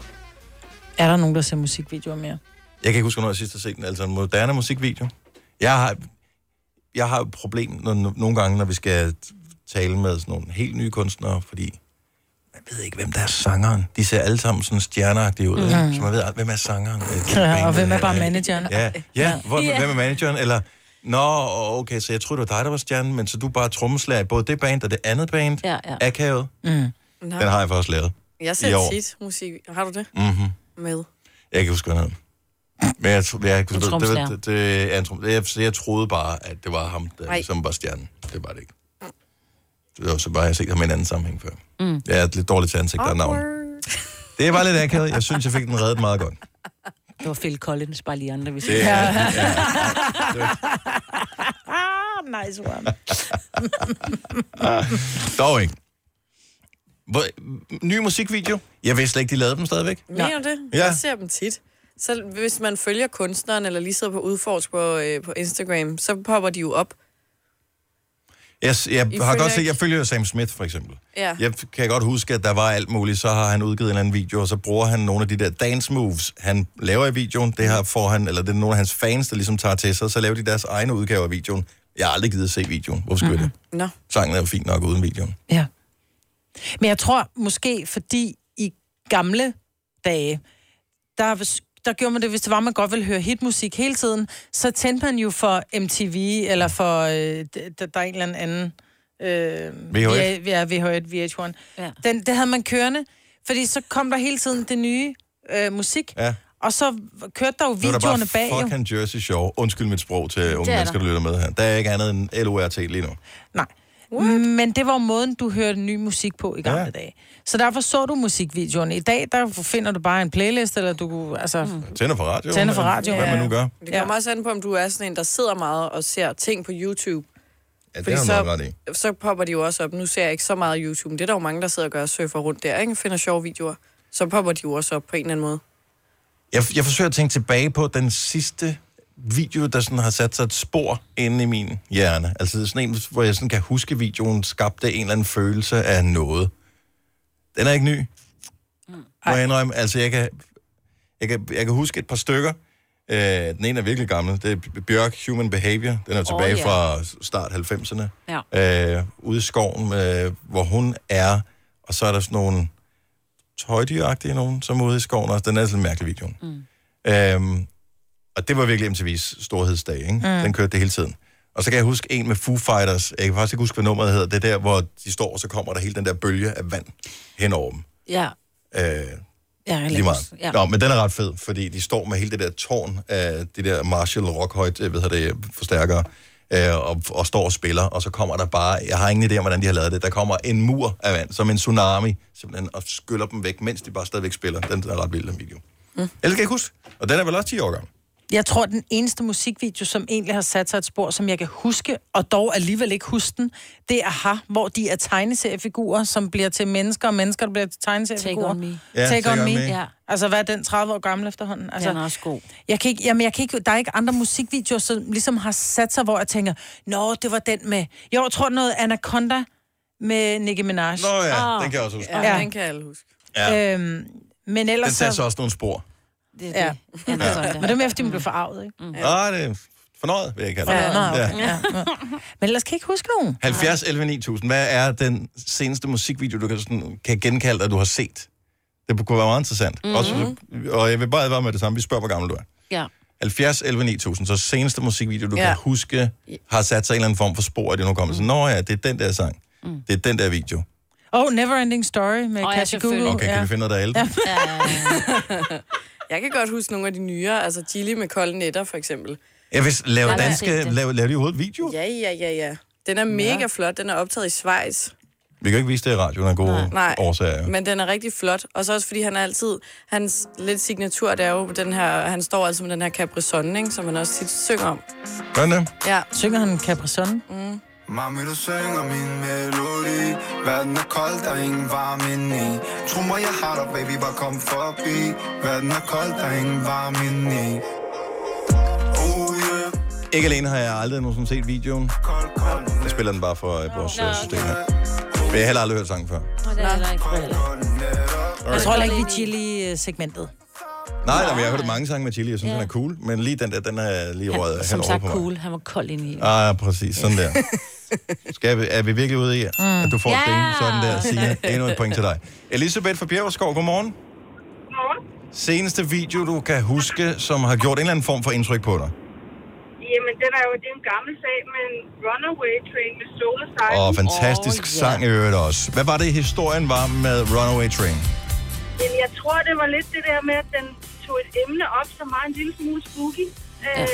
Er der nogen, der ser musikvideoer mere? Jeg kan ikke huske, hvornår jeg sidst har set den. Altså en moderne musikvideo. Jeg har, jeg har et problem når, nogle gange, når vi skal tale med sådan nogle helt nye kunstnere, fordi man ved ikke, hvem der er sangeren. De ser alle sammen sådan stjerneagtige ud. Mhm. Mm. Så man ved, hvem er sangeren? Øh, til Ja, og bandet hvem er her, bare ikke? manageren? Ja, ja. Hvor, Ja. yeah. hvem er manageren? Eller, nå, okay, så jeg tror det var dig, der var stjernen, men så du er bare trommeslager i både det band og det andet band. Ja, ja. Akavet. Mm. Den har jeg faktisk lavet. Mm. Jeg i ser år. tit musik. Har du det? Mhm. Med. Jeg kan huske, hvad han hed. Men jeg, tro- jeg, En jeg, det, tromslærer. det, det, det, er en trom- jeg, så jeg troede bare, at det var ham, der Nej. ligesom var stjernen. Det var det ikke. Det var så bare, jeg har set ham i en anden sammenhæng før. Mm. Jeg er lidt dårligt til ansigter og navn. Det var lidt akavet. Jeg synes, jeg fik den reddet meget godt. Det var Phil Collins, bare lige andre, hvis Det er- Ja. Ah, nice one. Ah. Dog ikke. Hvor, ny musikvideo? Jeg vidste slet ikke, de lavede dem stadigvæk. Mener du det? Ja. Jeg ser dem tit. Så hvis man følger kunstneren, eller lige sidder på udforsk på, øh, på Instagram, så popper de jo op. Jeg, jeg I har følger godt set, ikke- jeg følger jo Sam Smith for eksempel. Ja. Jeg kan godt huske, at der var alt muligt. Så har han udgivet en eller anden video, og så bruger han nogle af de der dance moves, han laver i videoen. Det her får han, eller det er nogle af hans fans, der ligesom tager til sig, så laver de deres egne udgaver af videoen. Jeg har aldrig givet at se videoen. Hvorfor skulle mm-hmm. Nå. det? Sangen er jo fint nok uden videoen. Ja. Men jeg tror måske, fordi i gamle dage, der, der gjorde man det, hvis det var, man godt ville høre hitmusik hele tiden, så tændte man jo for MTV, eller for, øh, d- d- der er en eller anden... Øh, VH1. Ja, ja, VH1, VH1. Ja. Den, det havde man kørende, fordi så kom der hele tiden det nye øh, musik, Ja. og så kørte der jo Nu er der videoerne bag. bare Jo. fucking Jersey Shore. Undskyld mit sprog til Det unge er mennesker, der. der lytter med her. Der er ikke andet end LORT lige nu. Nej. What? Men det var jo måden, du hørte ny musik på i gamle ja. dage. Så derfor så du musikvideoerne. I dag, der finder du bare en playlist, eller du kunne, altså... Mm. Tænder for radioen. Tænder for eller radioen. Hvad man nu gør. Det kommer også an på, om du er sådan en, der sidder meget og ser ting på YouTube. Ja, det Fordi har du så, noget ret i. så popper de jo også op. Nu ser jeg ikke så meget YouTube. men Det er der jo mange, der sidder og gør og surfer rundt der, ikke? Finder sjove videoer. Så popper de jo også op på en eller anden måde. Jeg, jeg forsøger at tænke tilbage på den sidste video, der sådan har sat sig et spor inde i min hjerne. Altså det er sådan en, hvor jeg sådan kan huske, at videoen skabte en eller anden følelse af noget. Den er ikke ny. Må jeg indrømme, altså jeg kan, jeg kan, jeg kan huske et par stykker. Øh, den ene er virkelig gammel. Det er Bjørk Human Behavior. Den er tilbage ja. fra start 90'erne. Ja. Øh, ude i skoven, øh, hvor hun er. Og så er der sådan nogle tøjdyragtige nogen, som er ude i skoven også. Den er sådan en mærkelig video. Mm. Øhm, og det var virkelig MTV's storhedsdag, ikke? Mm. Den kørte det hele tiden. Og så kan jeg huske en med Foo Fighters. Jeg kan faktisk ikke huske, hvad nummeret hedder. Det er der, hvor de står, og så kommer der hele den der bølge af vand hen over dem. Ja. Øh, Ja, Lige meget. Ja. Nå, men den er ret fed, fordi de står med hele det der tårn af de der Marshall Rockhøjt, øh, hvad hedder det, forstærkere, øh, og, og står og spiller, og så kommer der bare, jeg har ingen idé om, hvordan de har lavet det, der kommer en mur af vand, som en tsunami, simpelthen, og skyller dem væk, mens de bare stadigvæk spiller. Den er ret vild, den video. Mm. Ellers kan jeg ikke huske. Og den er vel også 10 år gammel. Jeg tror, den eneste musikvideo, som egentlig har sat sig et spor, som jeg kan huske, og dog alligevel ikke huske den, det er Aha, hvor de er tegneseriefigurer, som bliver til mennesker, og mennesker, der bliver til tegneseriefigurer. Take on me. Ja, take, on, me. Ja. Altså, hvad er den? 30 år gammel efterhånden? Altså, Den er også god. Jeg kan ikke, jamen, jeg kan ikke, der er ikke andre musikvideoer, som ligesom har sat sig, hvor jeg tænker, nå, det var den med... Jo, jeg tror noget Anaconda med Nicki Minaj. Nå ja, den kan jeg også huske. Ja, den kan alle huske. Ja. Øhm, men ellers Den tager så Mm. også nogle spor. Det, ja. Anaconda. ja. Men det er mere, fordi man blev forarvet, ikke? Mm. Ja. Ah, det er fornøjet, vil jeg kalde det. Ja, nå, okay. ja. ja. Men ellers kan jeg ikke huske nogen. 70 11 9000. Hvad er den seneste musikvideo, du kan, sådan, kan genkalde dig, du har set? Det kunne være meget interessant. Mhm. Mm-hmm. Også, og jeg vil bare advare med det samme. Vi spørger, hvor gammel du er. Ja. 70, 11, 9000. Så seneste musikvideo, du Ja. ja. kan huske, har sat sig en eller anden form for spor i din hukommelse. Nå ja, det er den der sang. Mm. Det er den der video. Oh, Neverending Story med Åh, oh, ja, Katja Google. selvfølgelig. Okay, kan vi finde noget, der er ældre? Jeg kan godt huske nogle af de nyere, altså Gilly med kolde netter for eksempel. Jeg vil lave Jeg har set danske... det. Lave, lave de overhovedet video? Ja, ja, ja, ja. Den er mega flot, den er optaget i Schweiz. Vi kan ikke vise det i radioen af gode Nej, årsager. men den er rigtig flot. Og så også fordi han er altid, hans lidt signatur, det er jo den her, han står altid med den her Capri Sun, ikke, som han også tit synger om. Hvordan det? Ja. Synger han Capri Sun? Mm. Mami, du synger min melodi Verden er kold, der er ingen varme indeni Tro mig, jeg har dig, baby, bare kom forbi Verden er kold, der er ingen varme indeni Ikke alene har jeg aldrig nogensinde set videoen. Jeg spiller den bare for øh, vores øh, system her. Men jeg har heller aldrig hørt sangen før. Jeg tror heller ikke, vi er chili-segmentet. Nej, nej, men jeg har hørt mange sange med Chili, jeg synes, Ja. den er cool. Men lige den der, den er lige røget Han, hen som over sagt på mig. cool. Han var kold ind i. Ah, præcis. Sådan der. Skal vi, er vi virkelig ude i, at du får Mm. Ja! yeah. den sådan der, Signe? Endnu et point til dig. Elisabeth fra Bjergskov, godmorgen. Godmorgen. Seneste video, du kan huske, som har gjort en eller anden form for indtryk på dig. Jamen, den er jo, det er en gammel sag, men Runaway Train med Solar Side. Og fantastisk oh, sang i øvrigt også. Hvad var det, historien var med Runaway Train? Jamen, jeg tror, det var lidt det der med, at den tog et emne op, som var en lille smule spooky. Ja. Øh,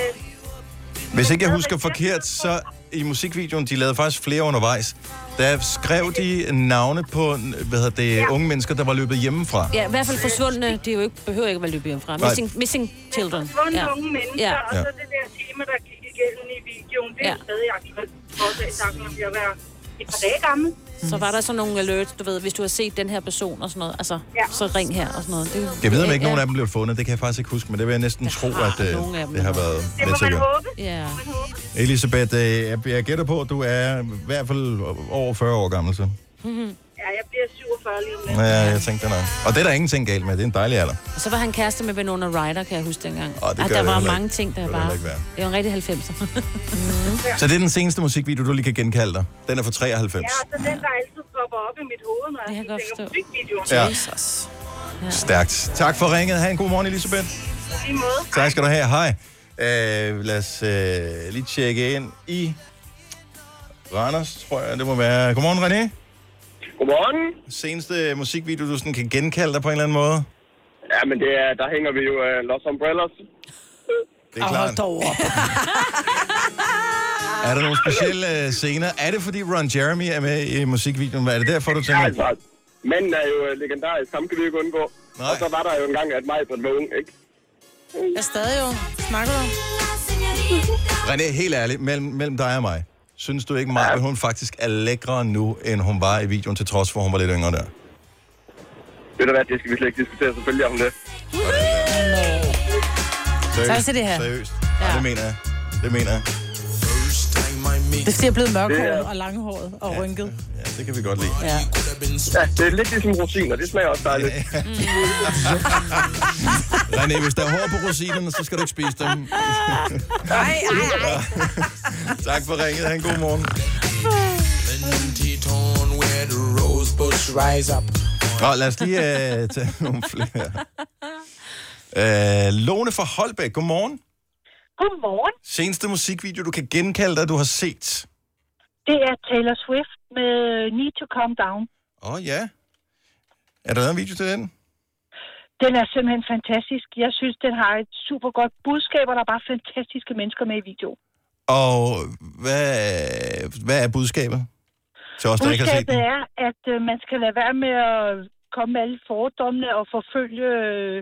Hvis ikke jeg husker forkert, så i musikvideoen, de lavede faktisk flere undervejs, der skrev de navne på, hvad hedder det, ja. unge mennesker, der var løbet hjemmefra. Ja, i hvert fald forsvundne. Det er jo ikke, behøver ikke at være løbet hjemmefra. Nej. Missing, missing children. forsvundne ja. unge mennesker, Ja. ja. og så det der tema, der gik igennem i videoen, det er Ja. ja. stadig aktuelt. Også i tanken om at være et par dage gammel. Så var der sådan nogle alerts, du ved, hvis du har set den her person og sådan noget, altså, ja. så ring her og sådan noget. Det, Jeg ved, om ikke nogen af dem blev fundet. Det kan jeg faktisk ikke huske, men det vil jeg næsten tro, at øh, nogle af dem. det har været Det må lidt man sikkert. håbe. Ja. Elisabeth, øh, jeg- jeg gætter på, at du er i hvert fald over 40 år gammel, så. Mhm. Ja, jeg bliver 47 lige om lidt. Ja, jeg tænkte det nok. Og det er der ingenting galt med. Det er en dejlig alder. Og så var han kæreste med Winona Ryder, kan jeg huske dengang. Åh, det Ah, gør der det var heller mange ikke. ting, der Det vil var. det ikke være. Det var en rigtig 90'er. Så det er den seneste musikvideo, du lige kan genkalde dig. Den er fra 93. Ja, og så den, der altid popper op i mit hoved, når jeg, jeg tænker musikvideoer. Ja. Jesus. Stærkt. Tak for ringet. Ha' en god morgen, Elisabeth. I måde. Tak skal du have. Hej. Øh, lad os øh, lige tjekke ind i Randers, tror jeg, det må være. Godmorgen, René. Godmorgen. Seneste musikvideo, du sådan kan genkalde dig på en eller anden måde? Ja, men det er, der hænger vi jo uh, Los Umbrellas. Det er klart. dog op. Er der nogle specielle øh, scener? Er det, fordi Ron Jeremy er med i musikvideoen? Er det derfor, du tænker? Ja, altså, manden er jo uh, legendarisk, ham kan vi jo ikke undgå. Nej. Og så var der jo engang, at mig var ung, ikke? Jeg er stadig jo. Snakker du? René, helt ærligt, mellem, mellem dig og mig, synes du ikke meget, at hun faktisk er lækre nu, end hun var i videoen, til trods for, at hun var lidt yngre der? Ved du hvad, det skal vi slet ikke diskutere selvfølgelig om det. Tak skal det have. Seriøst. Ja. det mener jeg. Det mener jeg. Det er fordi, jeg er blevet Det mørkhåret er- og langhåret og rynket. Ja, det kan vi godt lide. Ja. Ja, det er lidt ligesom rosiner, det smager også dejligt. René, hvis der er hår på rosinerne, så skal du ikke spise dem. Nej, nej, nej. tak for ringet. Ha' en god morgen. Nå, lad os lige øh, tage nogle flere. Øh, Lone fra Holbæk, godmorgen. Godmorgen. Seneste musikvideo, du kan genkalde dig, du har set. Det er Taylor Swift med Need to Calm Down. Åh oh, ja. Er der lavet en video til den? Den er simpelthen fantastisk. Jeg synes, den har et super godt budskab, og der er bare fantastiske mennesker med i videoen. Og hvad, hvad er budskabet? Til os, der ikke har set Budskabet den. er, at øh, man skal lade være med at komme med alle fordommene og forfølge øh,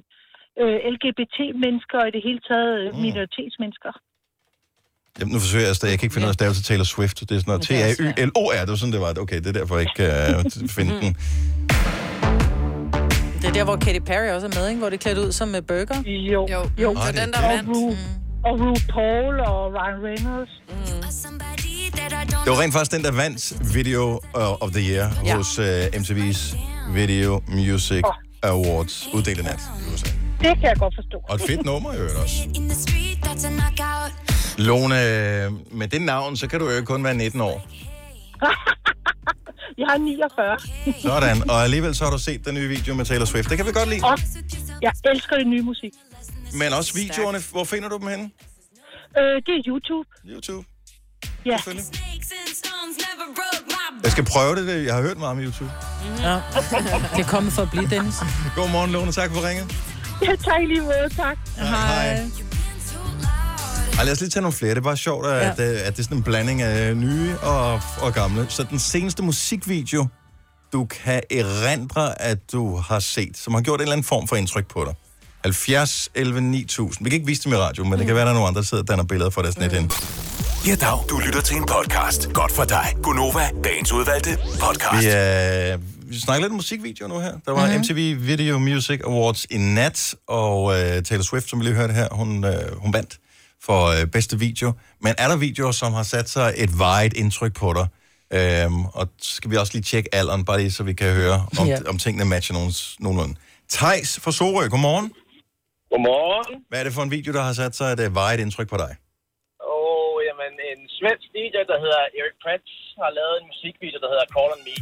øh, LGBT-mennesker og i det hele taget øh, minoritetsmennesker. Jamen, nu forsøger jeg stadig. Jeg kan ikke finde ud af at stave til Taylor Swift. Det er sådan noget Men det er T-A-Y-L-O-R. Det var sådan, det var. Okay, det er derfor, jeg ikke uh, finde den. Det er der, hvor Katy Perry også er med, ikke? Hvor det er klædt ud som med burger. Jo, jo. jo. Nå, det er den, der det. vandt. Og, Ru- og RuPaul og Ryan Reynolds. Det var rent faktisk den, der vandt Video øh, of the Year Ja. ja. hos uh, MTV's Video Music Awards uddelt i nat. i USA. Det kan jeg godt forstå. Og et fedt nummer i øvrigt også. Lone, øh, med det navn, så kan du jo ikke kun være 19 år. Jeg har 49. Sådan, og alligevel så har du set den nye video med Taylor Swift. Det kan vi godt lide. Og jeg elsker det nye musik. Men også videoerne, hvor finder du dem henne? Øh, det er YouTube. YouTube? Ja. Jeg skal prøve det, det, jeg har hørt meget om YouTube. Ja. Det er kommet for at blive, Dennis. Godmorgen, Lone, tak for ringet. Ja, tak i lige måde, tak. Hej. Ej, lad os lige tage nogle flere. Det er bare sjovt, at, ja. at det er sådan en blanding af øh, nye og, og gamle. Så den seneste musikvideo, du kan erindre, at du har set, som har gjort en eller anden form for indtryk på dig. 70, 11, 9000. Vi kan ikke vise dem i radio, men det kan være, der er nogen andre, der sidder og danner billeder for deres net ind. Ja, dag. Du lytter til en podcast. Godt for dig. Gunova, dagens udvalgte podcast. Vi, øh, vi snakker lidt om musikvideo nu her. Der var Mhm. mm-hmm. MTV Video Music Awards i nat, og øh, Taylor Swift, som vi lige hørte her, hun, øh, hun vandt for øh, bedste video. Men er der videoer, som har sat sig et vejet indtryk på dig? Øhm, og skal vi også lige tjekke alderen, bare lige så vi kan høre, om, Ja. yeah. om tingene matcher nogens, nogenlunde. Tejs fra Sorø, godmorgen. Godmorgen. Hvad er det for en video, der har sat sig et øh, vejet indtryk på dig? Og jamen, en svensk DJ, der hedder Erik Prats, har lavet en musikvideo, der hedder Call on Me.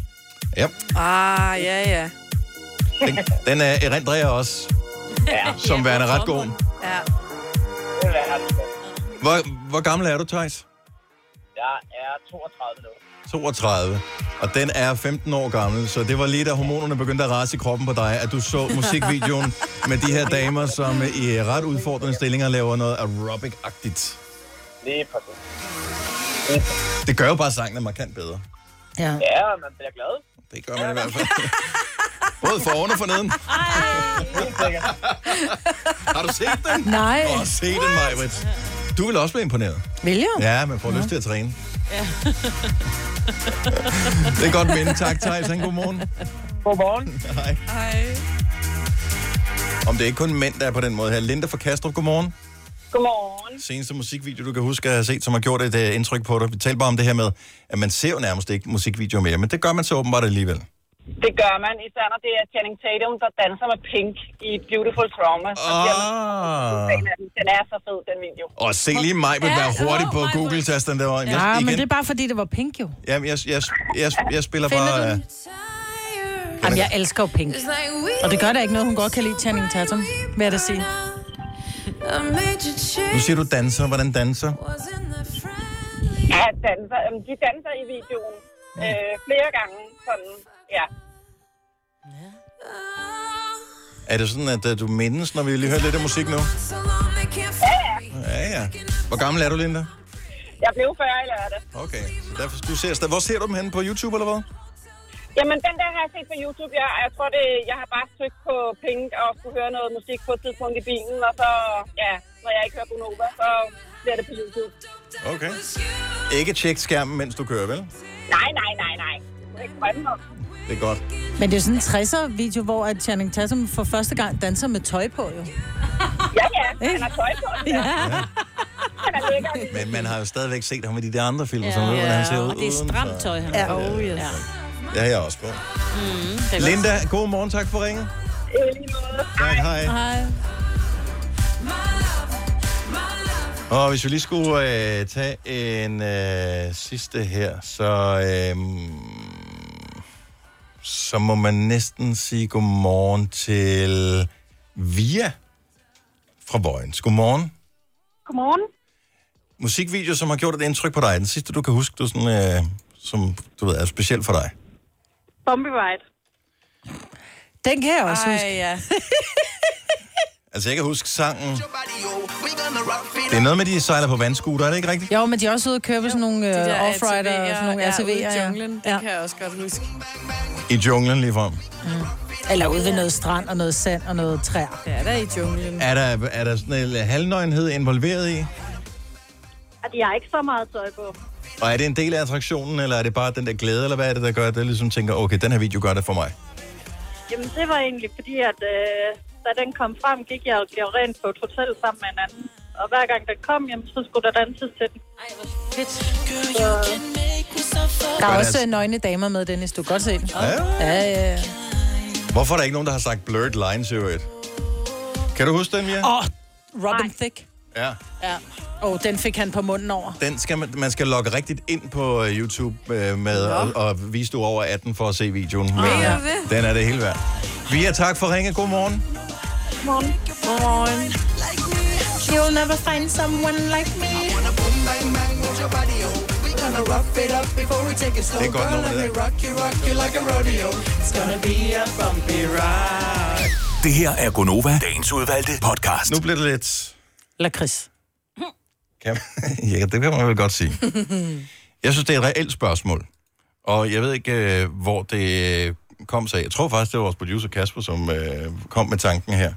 Ja, Ah, ja, ja. den, den øh, erindrer jeg også, ja, som værende ret god. Ja. Hvor, hvor gammel er du, Tejs? Jeg er 32 nu. 32. Og den er 15 år gammel, så det var lige da hormonerne begyndte at rase i kroppen på dig, at du så musikvideoen med de her damer, som i øh, ret udfordrende stillinger laver noget aerobic-agtigt. Lige præcis. Det gør jo bare sangene markant bedre. Ja. ja, man bliver glad. Det gør man i hvert fald. Både for oven og for neden. Har du set den? Nej. Åh, se den, Majbrit. Du vil også blive imponeret. Vil jeg? Ja, man får lyst til at træne. Ja. Det er godt minde. Tak, Thijs. Ha' en god morgen. Godmorgen. Hej. Hej. Om det er ikke kun mænd, der er på den måde her. Linda fra Kastrup, godmorgen. Godmorgen. Seneste musikvideo, du kan huske at have set, som har gjort et uh, indtryk på dig. Vi talte bare om det her med, at man ser jo nærmest ikke musikvideoer mere, men det gør man så åbenbart alligevel. Det gør man, især når det er Channing Tatum, der danser med Pink i Beautiful Trauma. Så bliver man Ah. fan af den. den er så fed, den video. Og se lige mig, vil være hurtigt på Google-tasten derovre. Jeg- Ja, men igen- det er bare fordi, det var pink jo. Jamen, jeg, jeg, jeg, jeg spiller Finder bare... du øh, den? Jamen, jeg elsker jo pink. Altså, Og det gør da ikke noget, hun godt kan lide Channing Tatum, vil jeg da sige. Nu siger du danser. Hvordan danser? Ja, danser. Øhm, De danser i videoen øh, flere gange. Sådan, ja. Er det sådan, at øh, du mindes, når vi lige hører lidt af musik nu? Ja, ja. Hvor gammel er du, Linda? Jeg blev 40 i lørdag. Okay. Så derfor, du ser, stadig- hvor ser du dem henne? På YouTube eller hvad? Jamen, den der har jeg set på YouTube. Jeg, jeg tror, det, jeg har bare søgt på Pink og skulle høre noget musik på et tidspunkt i bilen. Og så, ja, når jeg ikke hører Gunova, så bliver det på YouTube. Okay. Ikke tjek skærmen, mens du kører, vel? Nej, nej, nej, nej. Det er ikke drømme om. Det er godt. Men det er jo sådan en 60'er-video, hvor at Channing Tatum for første gang danser med tøj på, jo. Ja, ja. Han har tøj på. Ja. Han er lækker. Men man har jo stadigvæk set ham i de der andre film, ja, som ved, hvordan han ser ud. og det er uden, stramt så- tøj, han Ja. har på. Oh, yes. Ja, jeg er også på. Mm, det er godt. Linda, god morgen. Tak for ringen. I lige måde. Tak, hej. Hej. Og hvis vi lige skulle øh, tage en øh, sidste her, så, øh, så må man næsten sige godmorgen til Via fra Vojens. Godmorgen. Godmorgen. Musikvideo, som har gjort et indtryk på dig. Den sidste, du kan huske, du sådan, øh, som du ved, er speciel for dig. Bumpy Ride. Den kan jeg også Ej, huske. ja. Altså, jeg kan huske sangen. Det er noget med, de sejler på vandskuter, er det ikke rigtigt? Jo, men de er også ude og køre på sådan nogle De der uh, off-rider og ATV'er, sådan nogle ja, ATV'er. ude i Ja, junglen, det kan jeg også godt huske. I junglen lige frem. Mm. Eller ude ved noget strand og noget sand og noget træer. Ja, der er i junglen. Er der, er der sådan en øh, halvnøgenhed involveret i? At jeg har ikke så meget tøj på. Og er det en del af attraktionen, eller er det bare den der glæde, eller hvad er det, der gør, at jeg ligesom tænker, okay, den her video gør det for mig? Jamen, det var egentlig fordi, at øh, da den kom frem, gik jeg og blev rent på et hotel sammen med en anden. Og hver gang den kom, jamen, så skulle der danses til den. Ej, hvor fedt. Så... Der Godt, er altså. også øh, nøgne damer med, Dennis. Du kan godt se dem. Ja. ja, ja. ja. Hvorfor er der ikke nogen, der har sagt blurred lines i øvrigt? Kan du huske den, Mia? Åh, Robin Thicke. Ja. Ja. Og oh, den fik han på munden over. Den skal man, man skal logge rigtigt ind på øh, YouTube øh, med og, og vise du er over 18 for at se videoen. Men, Mener øh, du det? Den er det hele værd. Via, tak for ringe. God morgen. Godmorgen. Godmorgen. You'll never find someone like me. Det er godt nummer, det Det her er Gonova, dagens udvalgte podcast. Nu bliver det lidt... Lakrids. Kan man, ja, det kan man vel godt sige. Jeg synes, det er et reelt spørgsmål. Og jeg ved ikke, øh, hvor det øh, kom sig. af. Jeg tror faktisk, det var vores producer Kasper, som øh, kom med tanken her.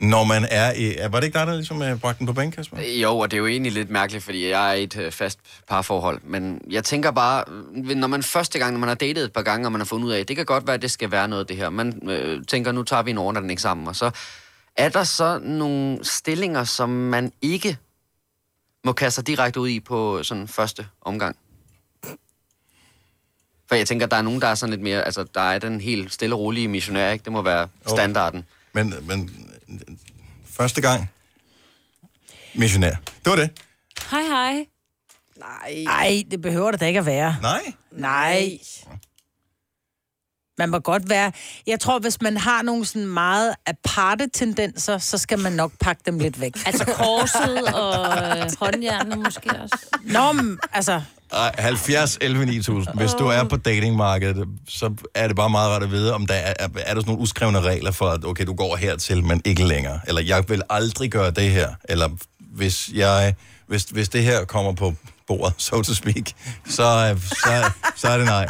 Når man er i... er- Var det ikke dig, der ligesom øh, bragte den på banen, Kasper? Jo, og det er jo egentlig lidt mærkeligt, fordi jeg er i et øh, fast parforhold. Men jeg tænker bare, øh, når man første gang, når man har datet et par gange, og man har fundet ud af, det kan godt være, at det skal være noget af det her. Man øh, tænker, nu tager vi en overnatning sammen, og så er der så nogle stillinger, som man ikke må kaste sig direkte ud i på øh, sådan første omgang? For jeg tænker, der er nogen, der er sådan lidt mere... Altså, der er den helt stille og rolige missionær, ikke? Det må være standarden. Men, men øh, første gang, missionær. Det var det. Hej, hej. Nej. Nej, det behøver det da ikke at være. Nej. Nej. Man må godt være... Jeg tror, hvis man har nogle sådan meget aparte tendenser, så skal man nok pakke dem lidt væk. Altså korset og øh, håndjernet måske også. Nå, men, altså... Ej, 70 11 9000. Hvis du er på datingmarkedet, så er det bare meget rart at vide, om der er, er der sådan nogle uskrevne regler for, at okay, du går hertil, men ikke længere. Eller jeg vil aldrig gøre det her. Eller hvis, jeg, hvis, hvis det her kommer på bordet, so to speak, så, så, så er det nej.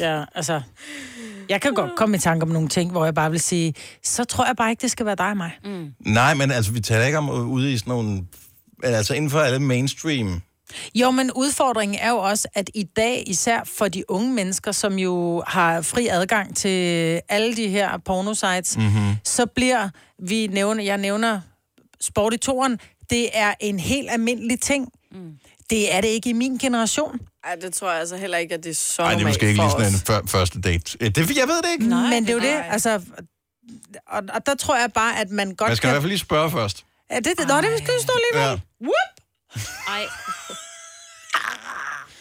Ja, altså... Jeg kan godt komme i tanke om nogle ting, hvor jeg bare vil sige, så tror jeg bare ikke, det skal være dig og mig. Mm. Nej, men altså, vi taler ikke om øh, ude i sådan nogle... men Altså inden for alle mainstream. Jo, men udfordringen er jo også, at i dag, især for de unge mennesker, som jo har fri adgang til alle de her pornosites, Mhm. mm-hmm. så bliver vi nævner, jeg nævner sport i toren, det er en helt almindelig ting. Mm. Det er det ikke i min generation. Ej, det tror jeg altså heller ikke, at det er så Nej, det er måske ikke lige sådan en før, første date. Øh, Det, jeg ved det ikke. Nej, men det er jo det, altså... Og, og der tror jeg bare, at man godt Man skal i kan... hvert fald lige spørge først. Ja, det, det, nå, det skal jo stå lige Ja. ja. Whoop! Ej.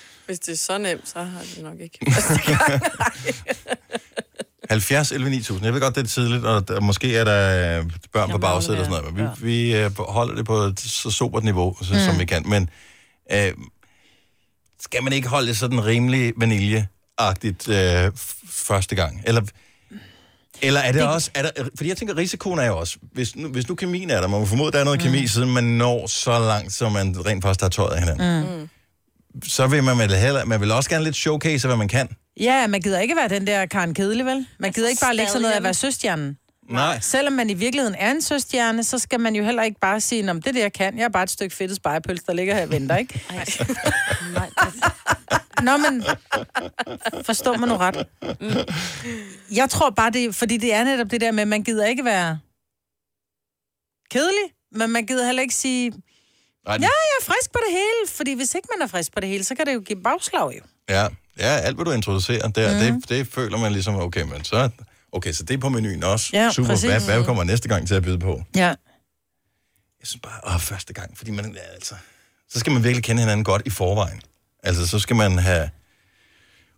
Hvis det er så nemt, så har det nok ikke. 70 11 9000. Jeg ved godt, det er tidligt, og der, måske er der øh, børn på bagsædet og sådan noget, men vi, vi øh, holder det på et så sobert niveau, så, mm. som vi kan. Men øh, skal man ikke holde det sådan rimelig vaniljeagtigt øh, f- første gang? Eller, eller er det, Det- også... Er der, fordi jeg tænker, risikoen er jo også, hvis nu, hvis nu kemien er der, man må formode, der er noget kemi, siden man når så langt, som man rent faktisk har tøjet af hinanden. Mm. Så vil man vel heller, man vil også gerne lidt showcase, hvad man kan. Ja, man gider ikke være den der Karen Kedelig, vel? Man gider ikke bare lægge sig ned at være søstjernen. Nej. Selvom man i virkeligheden er en søstjerne, så skal man jo heller ikke bare sige, om det der kan, jeg er bare et stykke fedtet spejepølse, der ligger her og venter, ikke? Altså. Nå, men forstår man nu ret? Jeg tror bare, det er- fordi det er netop det der med, at man gider ikke være kedelig, men man gider heller ikke sige, Nej, ja, det- jeg er frisk på det hele, fordi hvis ikke man er frisk på det hele, så kan det jo give bagslag jo. Ja, ja alt hvad du introducerer der, Mhm. mm. det, det føler man ligesom, okay, men så, okay, så det er på menuen også. Ja, Super, præcis. hvad, hvad kommer næste gang til at byde på? Ja. Jeg synes bare, åh, første gang, fordi man, ja, altså, så skal man virkelig kende hinanden godt i forvejen. Altså, så skal man have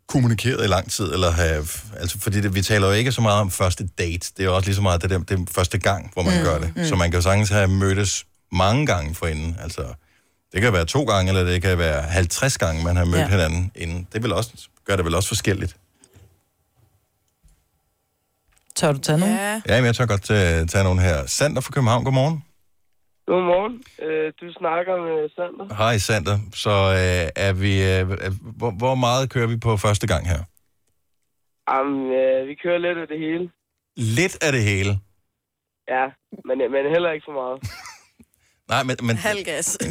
kommunikeret i lang tid, eller have, altså, fordi det, vi taler jo ikke så meget om første date, det er jo også lige så meget det, der, det er første gang, hvor man Mm, gør det. mm. Så man kan jo sagtens have mødtes mange gange forinden, altså, det kan være to gange, eller det kan være 50 gange, man har mødt ja. Ja. hinanden inden. Det vil også, gør det vel også forskelligt. Tør du tage nogen? Ja. Ja, men jeg tør godt uh, tage nogen her. Sander fra København, godmorgen. Godmorgen. Øh, du snakker med Sander. Hej Sander. Så uh, er vi, uh, hvor, hvor meget kører vi på første gang her? Jamen, øh, vi kører lidt af det hele. Lidt af det hele. Ja, men, øh, men heller ikke for meget. Nej, men... men Halvgas.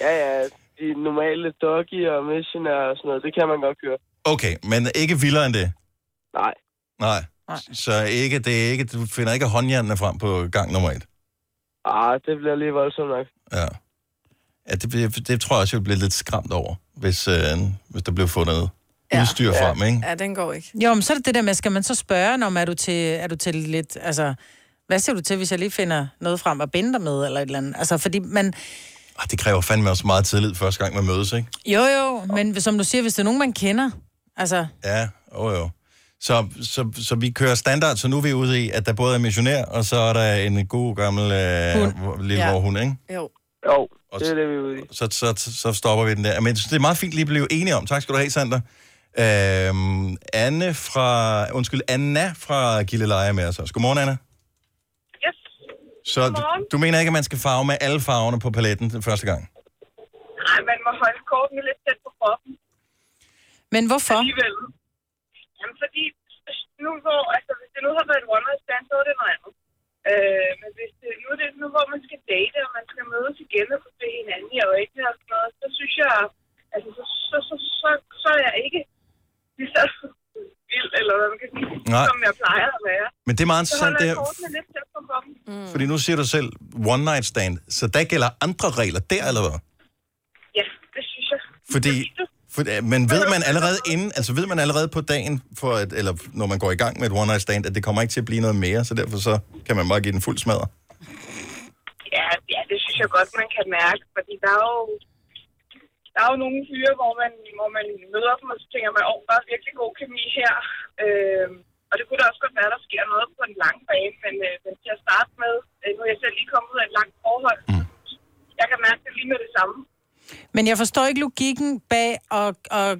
ja, ja. De normale doggy og missionær og sådan noget, det kan man godt køre. okay, men ikke vildere end det? Nej. Nej. Så ikke, det er ikke, du finder ikke håndjernene frem på gang nummer et? Ah, det bliver lige voldsomt nok. Ja. ja det, bliver- det tror jeg også, jeg bliver lidt skræmt over, hvis, øh, hvis der bliver fundet ja. udstyr frem, Mm. ikke? Ja, den går ikke. Jo, men så er det det der med, skal man så spørge, når er du til, er du til lidt, altså, Hvad siger du til, hvis jeg lige finder noget frem at binde dig med, eller et eller andet? Altså, fordi man... Arh, Ah, det kræver fandme også meget tillid første gang, man mødes, ikke? Jo, jo, men som du siger, hvis det er nogen, man kender, altså... Ja, åh jo. Så, så, så vi kører standard, så nu er vi ude i, at der både er missionær, og så er der en god gammel øh, hund. lille ja. hund, ikke? Jo. Jo, det er det, vi er ude i. Så, så, så stopper vi den der. Men jeg synes, det er meget fint lige at blive enige om. Tak skal du have, Sander. Øhm, Anne fra, undskyld, Anna fra Gilleleje er med os også. Godmorgen, Anna. Yes. Så du, Godmorgen. du mener ikke, at man skal farve med alle farverne på paletten den første gang? Nej, man må holde kortene lidt tæt på kroppen. Men hvorfor? Alligevel. Jamen, fordi nu hvor, altså, hvis det nu har været et one night stand, så er det noget andet. Øh, men hvis det nu, er det nu hvor man skal date, og man skal mødes igen og kunne se hinanden i øjnene og sådan noget, så synes jeg, altså, så, så, så, så, så er jeg ikke lige så vild, eller hvad man kan sige, Nej. som jeg plejer at være. Men det er meget interessant, det det her. her. Så holder jeg kortene lidt tæt på kroppen. Mm. Fordi nu siger du selv one night stand, så der gælder andre regler der, eller hvad? Ja, det synes jeg. Fordi, for, men ved man allerede inden, altså ved man allerede på dagen, for at, eller når man går i gang med et one night stand, at det kommer ikke til at blive noget mere, så derfor så kan man bare give den fuld smadre. Ja, ja, det synes jeg godt, man kan mærke, fordi der er jo, der er jo nogle fyre, hvor man, hvor man møder dem, og så tænker man, åh, oh, der er virkelig god kemi her. Øh, og det kunne da også godt være, der sker noget på en lang bane, men, øh, men til at starte med, øh, nu er jeg selv lige kommet ud af et langt forhold, mm. jeg kan mærke det lige med det samme. Men jeg forstår ikke logikken bag at, at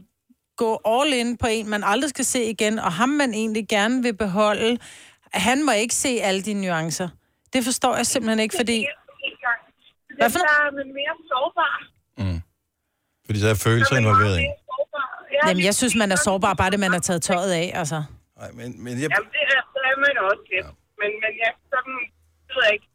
gå all in på en, man aldrig skal se igen, og ham man egentlig gerne vil beholde, han må ikke se alle de nuancer. Det forstår jeg simpelthen ikke, fordi... Hvad for Der er man mere sårbar. Fordi så er følelser involveret i. Ja, Jamen, jeg synes, man er sårbar, bare det, man har taget tøjet af, altså. Nej, men, men jeg... Jamen, det er, så er man også lidt. Ja. Men, men jeg sådan, det ved jeg ikke.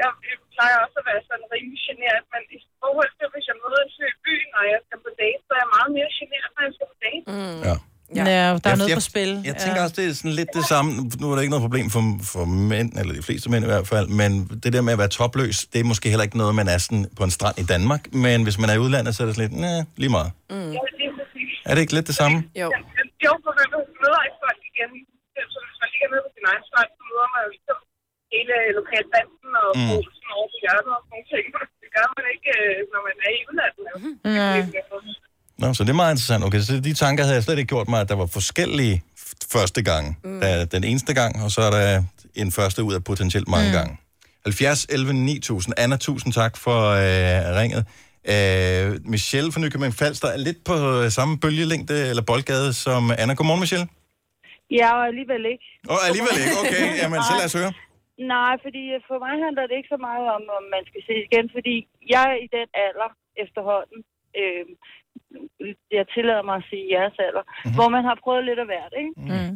Jeg, jeg plejer også at være sådan rimelig generet, men i forhold til, hvis jeg møder en fyr i byen, og jeg skal på date, så er jeg meget mere generet, når jeg skal på date. Mm. Ja. Ja, der er Jeg- noget jeg, på spil. Jeg, tænker også, det er sådan lidt det samme. Nu er der ikke noget problem for, for mænd, eller de fleste mænd i hvert fald, men det der med at være topløs, det er måske heller ikke noget, man er sådan på en strand i Danmark. Men hvis man er i udlandet, så er det sådan lidt, nej, lige meget. Mm. Ja, det er præcis. Er det ikke lidt det samme? Jo. Jo, for man møder ikke folk igen. Så hvis man ligger nede på sin egen strand, så møder man jo ligesom hele lokalbanden og Mm. mm. sådan over på hjørnet og sådan nogle ting. Det gør man ikke, øh, når man er i udlandet. Mm. Nå, så det er meget interessant. Okay, så de tanker havde jeg slet ikke gjort mig, at der var forskellige f- første gang. Mm. Der er den eneste gang, og så er der en første ud af potentielt mange mm. gange. 70, 11, 9000. Anna, tusind tak for øh, ringet. Øh, Michelle fra Nykøbing Falster er lidt på øh, samme bølgelængde eller boldgade som Anna. Godmorgen, Michelle. Ja, og alligevel ikke. Åh, oh, alligevel ikke. Okay, jamen, så lad os høre. Nej, fordi øh, for mig handler det ikke så meget om, om man skal ses igen, fordi jeg er i den alder efterhånden, øh, jeg tillader mig at sige jeres alder, Mhm. mm-hmm. hvor man har prøvet lidt af hvert, ikke? Mm.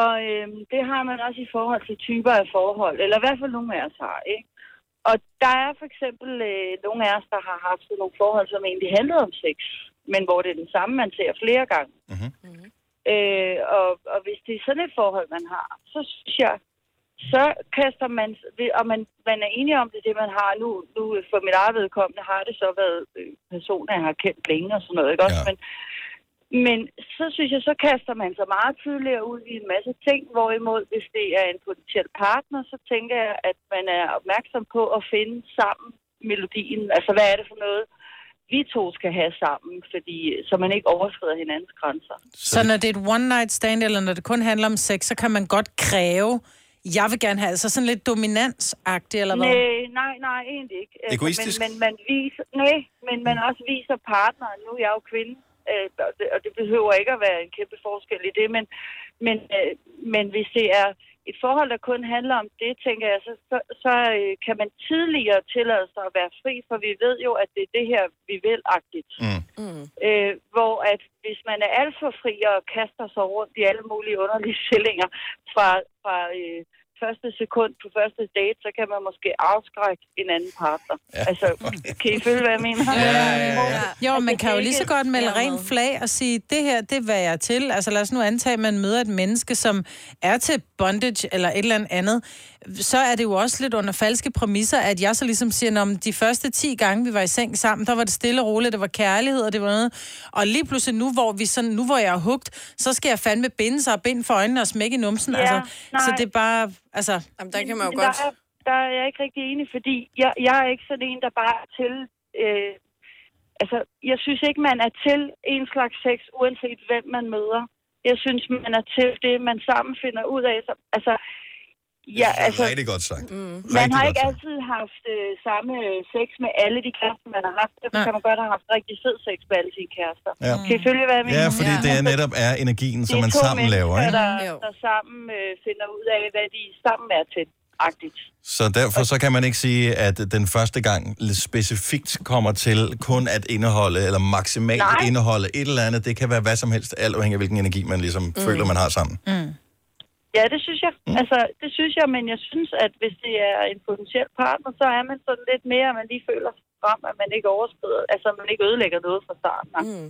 Og øh, det har man også i forhold til typer af forhold, eller i hvert fald nogle af os har, ikke? Og der er for eksempel øh, nogle af os, der har haft sådan nogle forhold, som egentlig handlede om sex, men hvor det er den samme, man ser flere gange. Mm-hmm. Øh, og, og hvis det er sådan et forhold, man har, så synes jeg, så kaster man, og man, man er enige om det, er det man har nu, nu for mit eget vedkommende har det så været øh, personer, jeg har kendt længe og sådan noget, ikke også? Ja. Men, men så synes jeg, så kaster man sig meget tidligere ud i en masse ting, hvorimod hvis det er en potentiel partner, så tænker jeg, at man er opmærksom på at finde sammen melodien. Altså, hvad er det for noget, vi to skal have sammen, fordi, så man ikke overskrider hinandens grænser. Så når det er et one night stand, eller når det kun handler om sex, så kan man godt kræve, jeg vil gerne have, altså sådan lidt dominansagtigt, eller hvad? Nej, nej, nej, egentlig ikke. Altså, Egoistisk? Men, men man viser, nej, men man også viser partneren. Nu er jeg jo kvinde, øh, og det- og det behøver ikke at være en kæmpe forskel i det, men, men, øh, men hvis det er et forhold, der kun handler om det, tænker jeg, så, så, så øh, kan man tidligere tillade sig at være fri, for vi ved jo, at det er det her, vi vil-agtigt. Mm. Mm. Øh, hvor at hvis man er alt for fri og kaster sig rundt i alle mulige underlige stillinger fra, fra øh, første sekund på første date, så kan man måske afskrække en anden partner. Ja. Altså, kan I følge, hvad jeg mener? Altså, Ja, ja, ja. Jo, man kan jo lige så godt melde ren flag og sige, det her, det er, hvad jeg er til. Altså lad os nu antage, at man møder et menneske, som er til bondage eller et eller andet. Så er det jo også lidt under falske præmisser, at jeg så ligesom siger, om de første 10 gange, vi var i seng sammen, der var det stille og roligt, det var kærlighed og det var noget. Og lige pludselig nu, hvor, vi sådan, nu, hvor jeg er hugt, så skal jeg fandme binde sig og binde for øjnene og smække i numsen. Ja, altså, så nej. det er bare... Altså, Jamen, der kan man jo Men godt... Der er, der er jeg ikke rigtig enig, fordi jeg, jeg er ikke sådan en, der bare er til... Øh, altså, jeg synes ikke, man er til en slags sex, uanset hvem man møder. Jeg synes, man er til det, man sammen finder ud af. Så- Altså, ja, Det er altså, rigtig godt sagt. Mm. man har ikke altid haft øh, samme øh, sex med alle de kærester, man har haft. Derfor kan man godt have haft rigtig sød sex med alle sine kærester. Ja. Kan I følge, hvad jeg mener? Ja, fordi det er netop er energien, som Det er man to sammen laver. mennesker, Ikke? Der, der sammen øh, finder ud af, hvad de sammen er til. Agtigt. Så derfor så kan man ikke sige, at den første gang specifikt kommer til kun at indeholde, eller maksimalt Nej. indeholde et eller andet. Det kan være hvad som helst, alt afhængig af hvilken energi man ligesom mm. føler, man har sammen. Mm. Ja, det synes jeg. Mm. Altså, det synes jeg, men jeg synes, at hvis det er en potentiel partner, så er man sådan lidt mere, at man lige føler sig frem, at man ikke overskrider, altså man ikke ødelægger noget fra starten. Mm.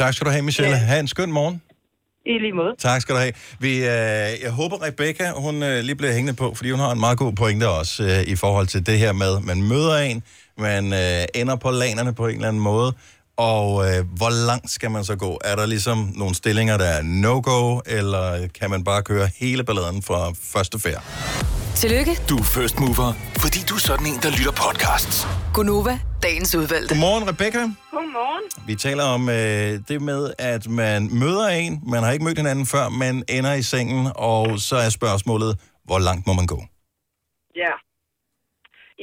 Tak skal du have, Michelle. Ha' en skøn morgen. I lige måde. Tak skal du have. Vi, øh, jeg håber, Rebecca hun, øh, lige bliver hængende på, fordi hun har en meget god pointe også øh, i forhold til det her med, man møder en, man øh, ender på lanerne på en eller anden måde, og øh, hvor langt skal man så gå? Er der ligesom nogle stillinger, der er no-go, eller kan man bare køre hele balladen fra første færd? Tillykke, Du er first mover. Fordi du er sådan en, der lytter podcasts. Gunova, dagens udvalgte. Godmorgen, Rebecca. Godmorgen. Vi taler om øh, det med, at man møder en, man har ikke mødt hinanden før, man ender i sengen, og så er spørgsmålet, hvor langt må man gå? Ja.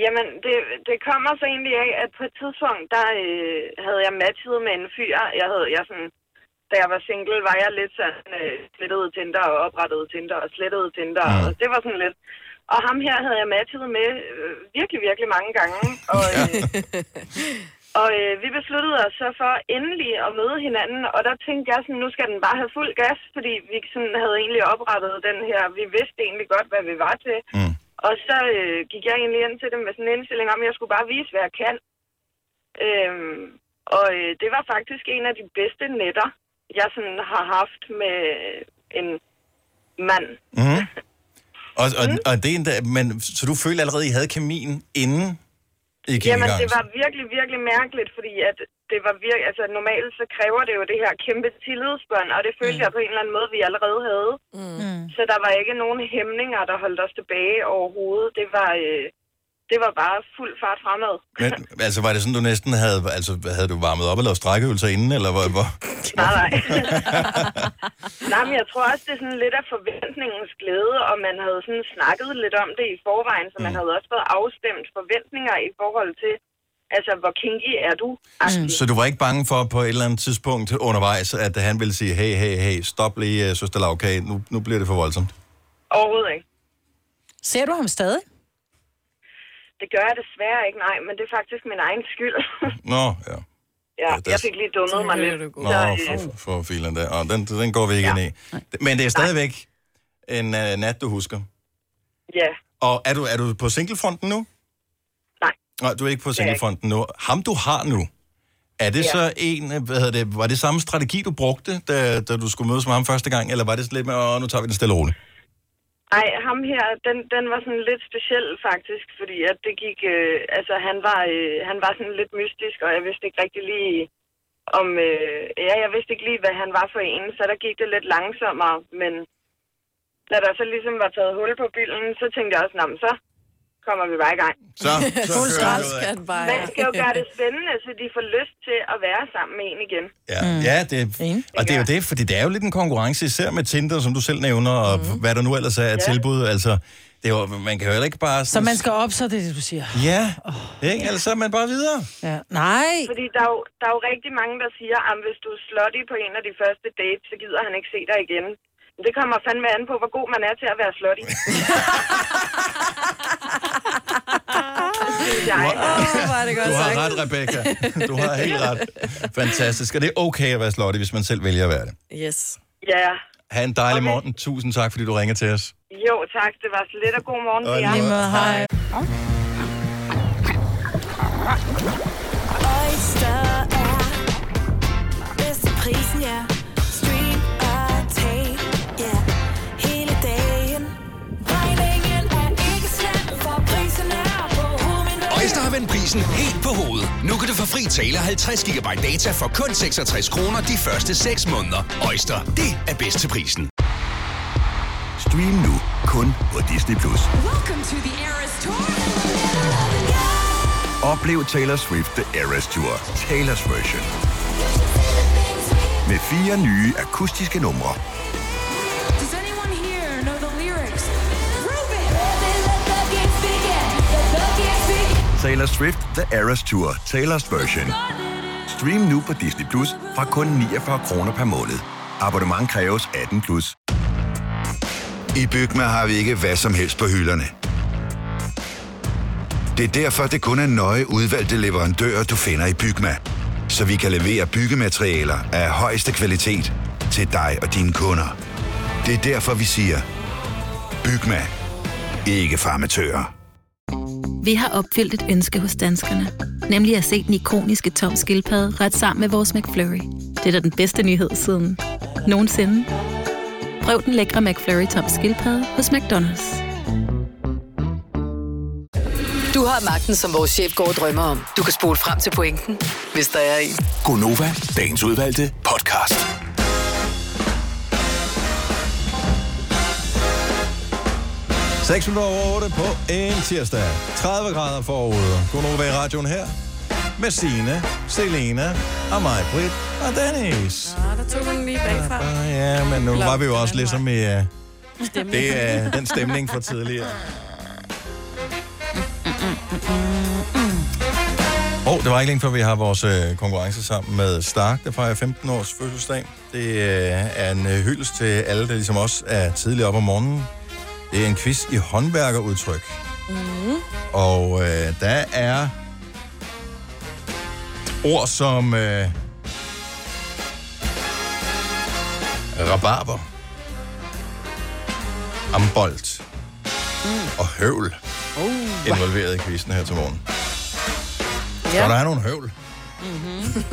Jamen, det, det kommer så egentlig af, at på et tidspunkt, der øh, havde jeg matchet med en fyr. Jeg havde, jeg sådan, da jeg var single, var jeg lidt sådan, øh, slettede Tinder og oprettede Tinder og slettede Tinder. Mm. Og det var sådan lidt... Og ham her havde jeg matchet med øh, virkelig, virkelig mange gange. Og, øh, og øh, vi besluttede os så for endelig at møde hinanden. Og der tænkte jeg sådan, nu skal den bare have fuld gas, fordi vi sådan havde egentlig oprettet den her... Vi vidste egentlig godt, hvad vi var til. Mm. Og så øh, gik jeg egentlig ind til dem med sådan en indstilling om, at jeg skulle bare vise, hvad jeg kan. Øhm, og øh, det var faktisk en af de bedste netter, jeg sådan har haft med en mand. Mm-hmm. Og, og, Mhm. mm. og det er endda, men, så du følte allerede, I havde kemien inden I gik Jamen, i gang? det var virkelig, virkelig mærkeligt, fordi at det var virke, altså, normalt så kræver det jo det her kæmpe tillidsbånd, og det følte mm. jeg på en eller anden måde, vi allerede havde. Mm. Så der var ikke nogen hæmninger, der holdt os tilbage overhovedet. Det var, øh, det var bare fuld fart fremad. Men, altså, var det sådan, du næsten havde, altså, havde du varmet op og lavet strækkeøvelser inden, eller hvor, hvor? Nej, nej. nej, men jeg tror også, det er sådan lidt af forventningens glæde, og man havde sådan snakket lidt om det i forvejen, så man mm. havde også fået afstemt forventninger i forhold til, altså, hvor kinky er du? Mm. Så du var ikke bange for på et eller andet tidspunkt undervejs, at han ville sige, hey, hey, hey, stop lige, øh, søster Lavkage, nu, nu bliver det for voldsomt. Overhovedet ikke. Ser du ham stadig? Det gør jeg desværre ikke, nej, men det er faktisk min egen skyld. Nå, ja. ja, jeg fik lige dummet mig lidt. Nå, Så, for, øh, for, for filen der. Og den, den går vi ikke ja. ind i. Men det er stadigvæk en uh, nat, du husker. ja, Og er du, er du på singlefronten nu? Nej. Nej, du er ikke på Det er jeg ikke. singlefronten nu. Ham, du har nu, er det Ja. ja. så en, øh, hvad hedder det, var det samme strategi, du brugte, da, da du skulle mødes med ham første gang, eller var det sådan lidt med, åh, nu tager vi den stille og roligt? Ej, ham her, den, den var sådan lidt speciel faktisk, fordi at det gik, øh, altså han var, øh, han var sådan lidt mystisk, og jeg vidste ikke rigtig lige om, øh, ja, jeg vidste ikke lige, hvad han var for en, så der gik det lidt langsommere, men da der så ligesom var taget hul på bilen, så tænkte jeg også, "Nå, men så kommer vi bare i gang. Så, så Fuld skrald skal den bare. Man skal jo gøre det spændende, så de får lyst til at være sammen med en igen. Ja, mm. ja det, og det er jo det, fordi det er jo lidt en konkurrence, især med Tinder, som du selv nævner, og mm. hvad der nu ellers er af ja. tilbud. Altså, det er jo, man kan jo heller ikke bare... Så Sådan, man skal op, så er det det, du siger. Ja, ikke? Ellers så er man bare videre. Ja. Nej. Fordi der er, jo, der er jo rigtig mange, der siger, at hvis du er slutty på en af de første dates, så gider han ikke se dig igen. Men det kommer fandme an på, hvor god man er til at være slutty. Åh, hvor er det godt Du sagt. har ret, Rebecca. Du har helt ret. Fantastisk. Og det er okay at være slottig, hvis man selv vælger at være det. Yes. ja, Ha' en dejlig okay. morgen. Tusind tak, fordi du ringer til os. jo tak. Det var så lidt, og god morgen til jer. Og lige måde. Hej. Oyster er bedst til prisen, ja. Stream og tag, ja. Hele dagen. Regningen er ikke slem, for prisen er på Øjster har vendt prisen helt på hovedet. Nu kan du få fri tale 50 GB data for kun 66 kroner de første 6 måneder. Øjster, det er bedst til prisen. Stream nu kun på Disney+. Plus. Welcome to the Eras Tour. Oplev Taylor Swift The Eras Tour, Taylor's version. Med fire nye akustiske numre. Does anyone here know the lyrics? Taylor Swift The Eras Tour, Taylor's version. Stream nu på Disney Plus fra kun 49 kroner per måned. Abonnement kræves 18 plus. I Bygma har vi ikke hvad som helst på hylderne. Det er derfor, det kun er nøje udvalgte leverandører, du finder i Bygma. Så vi kan levere byggematerialer af højeste kvalitet til dig og dine kunder. Det er derfor, vi siger, Bygma. Ikke farmatører. Vi har opfyldt et ønske hos danskerne. Nemlig at se den ikoniske tom skildpadde ret sammen med vores McFlurry. Det er da den bedste nyhed siden nogensinde. Prøv den lækre McFlurry tom skildpadde hos McDonald's. Du har magten, som vores chef går og drømmer om. Du kan spole frem til pointen, hvis der er en. Gonova, dagens udvalgte podcast. Seks minutter over 8 på en tirsdag. 30 grader forude. Kun over i radioen her. Med Signe, Selena og mig, Britt og Dennis. Ah, der tog man lige bagfra. Ah, Ja, men nu var vi jo også ligesom i uh, det, uh, den stemning fra tidligere. Og det var ikke længe før, vi har vores øh, konkurrence sammen med Stark, der fejrer 15 års fødselsdag. Det øh, er en øh, hyldest til alle, der ligesom os er tidligt op om morgenen. Det er en quiz i håndværkerudtryk. Mhm. Mm-hmm. Mm. Og øh, der er ord som øh, rabarber, ambolt og høvl Oh. involveret i quizzen her til morgen. Skal Ja. der have nogle høvl? 嗯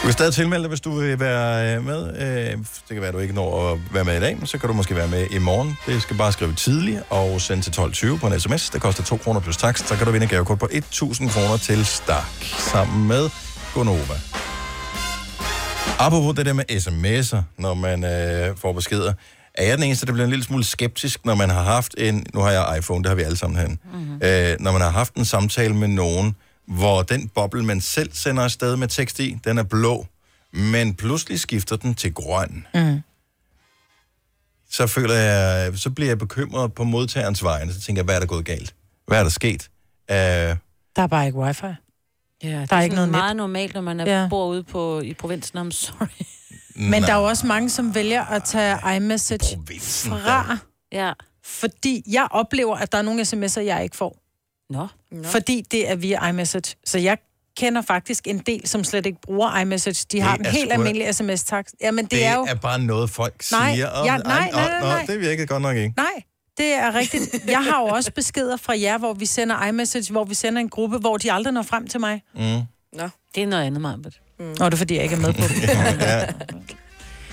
Du kan stadig tilmelde dig, hvis du vil være øh, med. Øh, Det kan være, at du ikke når at være med i dag, men så kan du måske være med i morgen. Det skal bare skrive tidligt og sende til 12.20 på en sms. Det koster 2 kroner plus takst. Så kan du vinde et gavekort på 1.000 kroner til Stark sammen med Gonova. Apropos det der med sms'er, når man øh, får beskeder. Er jeg den eneste, der bliver en lille smule skeptisk, når man har haft en... Nu har jeg iPhone, det har vi alle sammen herinde. Mm-hmm. Øh, når man har haft en samtale med nogen, hvor den boble, man selv sender afsted med tekst i, den er blå, men pludselig skifter den til grøn, Mm. så føler jeg, så bliver jeg bekymret på modtagerens vegne. Så tænker jeg, hvad er der gået galt? Hvad er der sket? Øh, Der er bare ikke wifi. Ja, der er ikke noget net. meget normalt, når man er, Ja. ja. bor ude på, i provinsen. I'm sorry. Men der er jo også mange, som vælger at tage iMessage fra, ja. fordi jeg oplever, at der er nogle sms'er, jeg ikke får. Nå. Fordi det er via iMessage. Så jeg kender faktisk en del, som slet ikke bruger iMessage. De har Det en er helt sgu da- almindelig sms-takst. Jamen, det, det er jo... er bare noget, folk Nej, siger. Åh, ja, nej, åh, nej, nej, nå, nej. Det virkede godt nok ikke. Nej, det er rigtigt. Jeg har jo også beskeder fra jer, hvor vi sender iMessage, hvor vi sender en gruppe, hvor de aldrig når frem til mig. Mm. Nå. Det er noget andet, Marbet. Mm. Nå, det er fordi, jeg ikke er med på det. ja.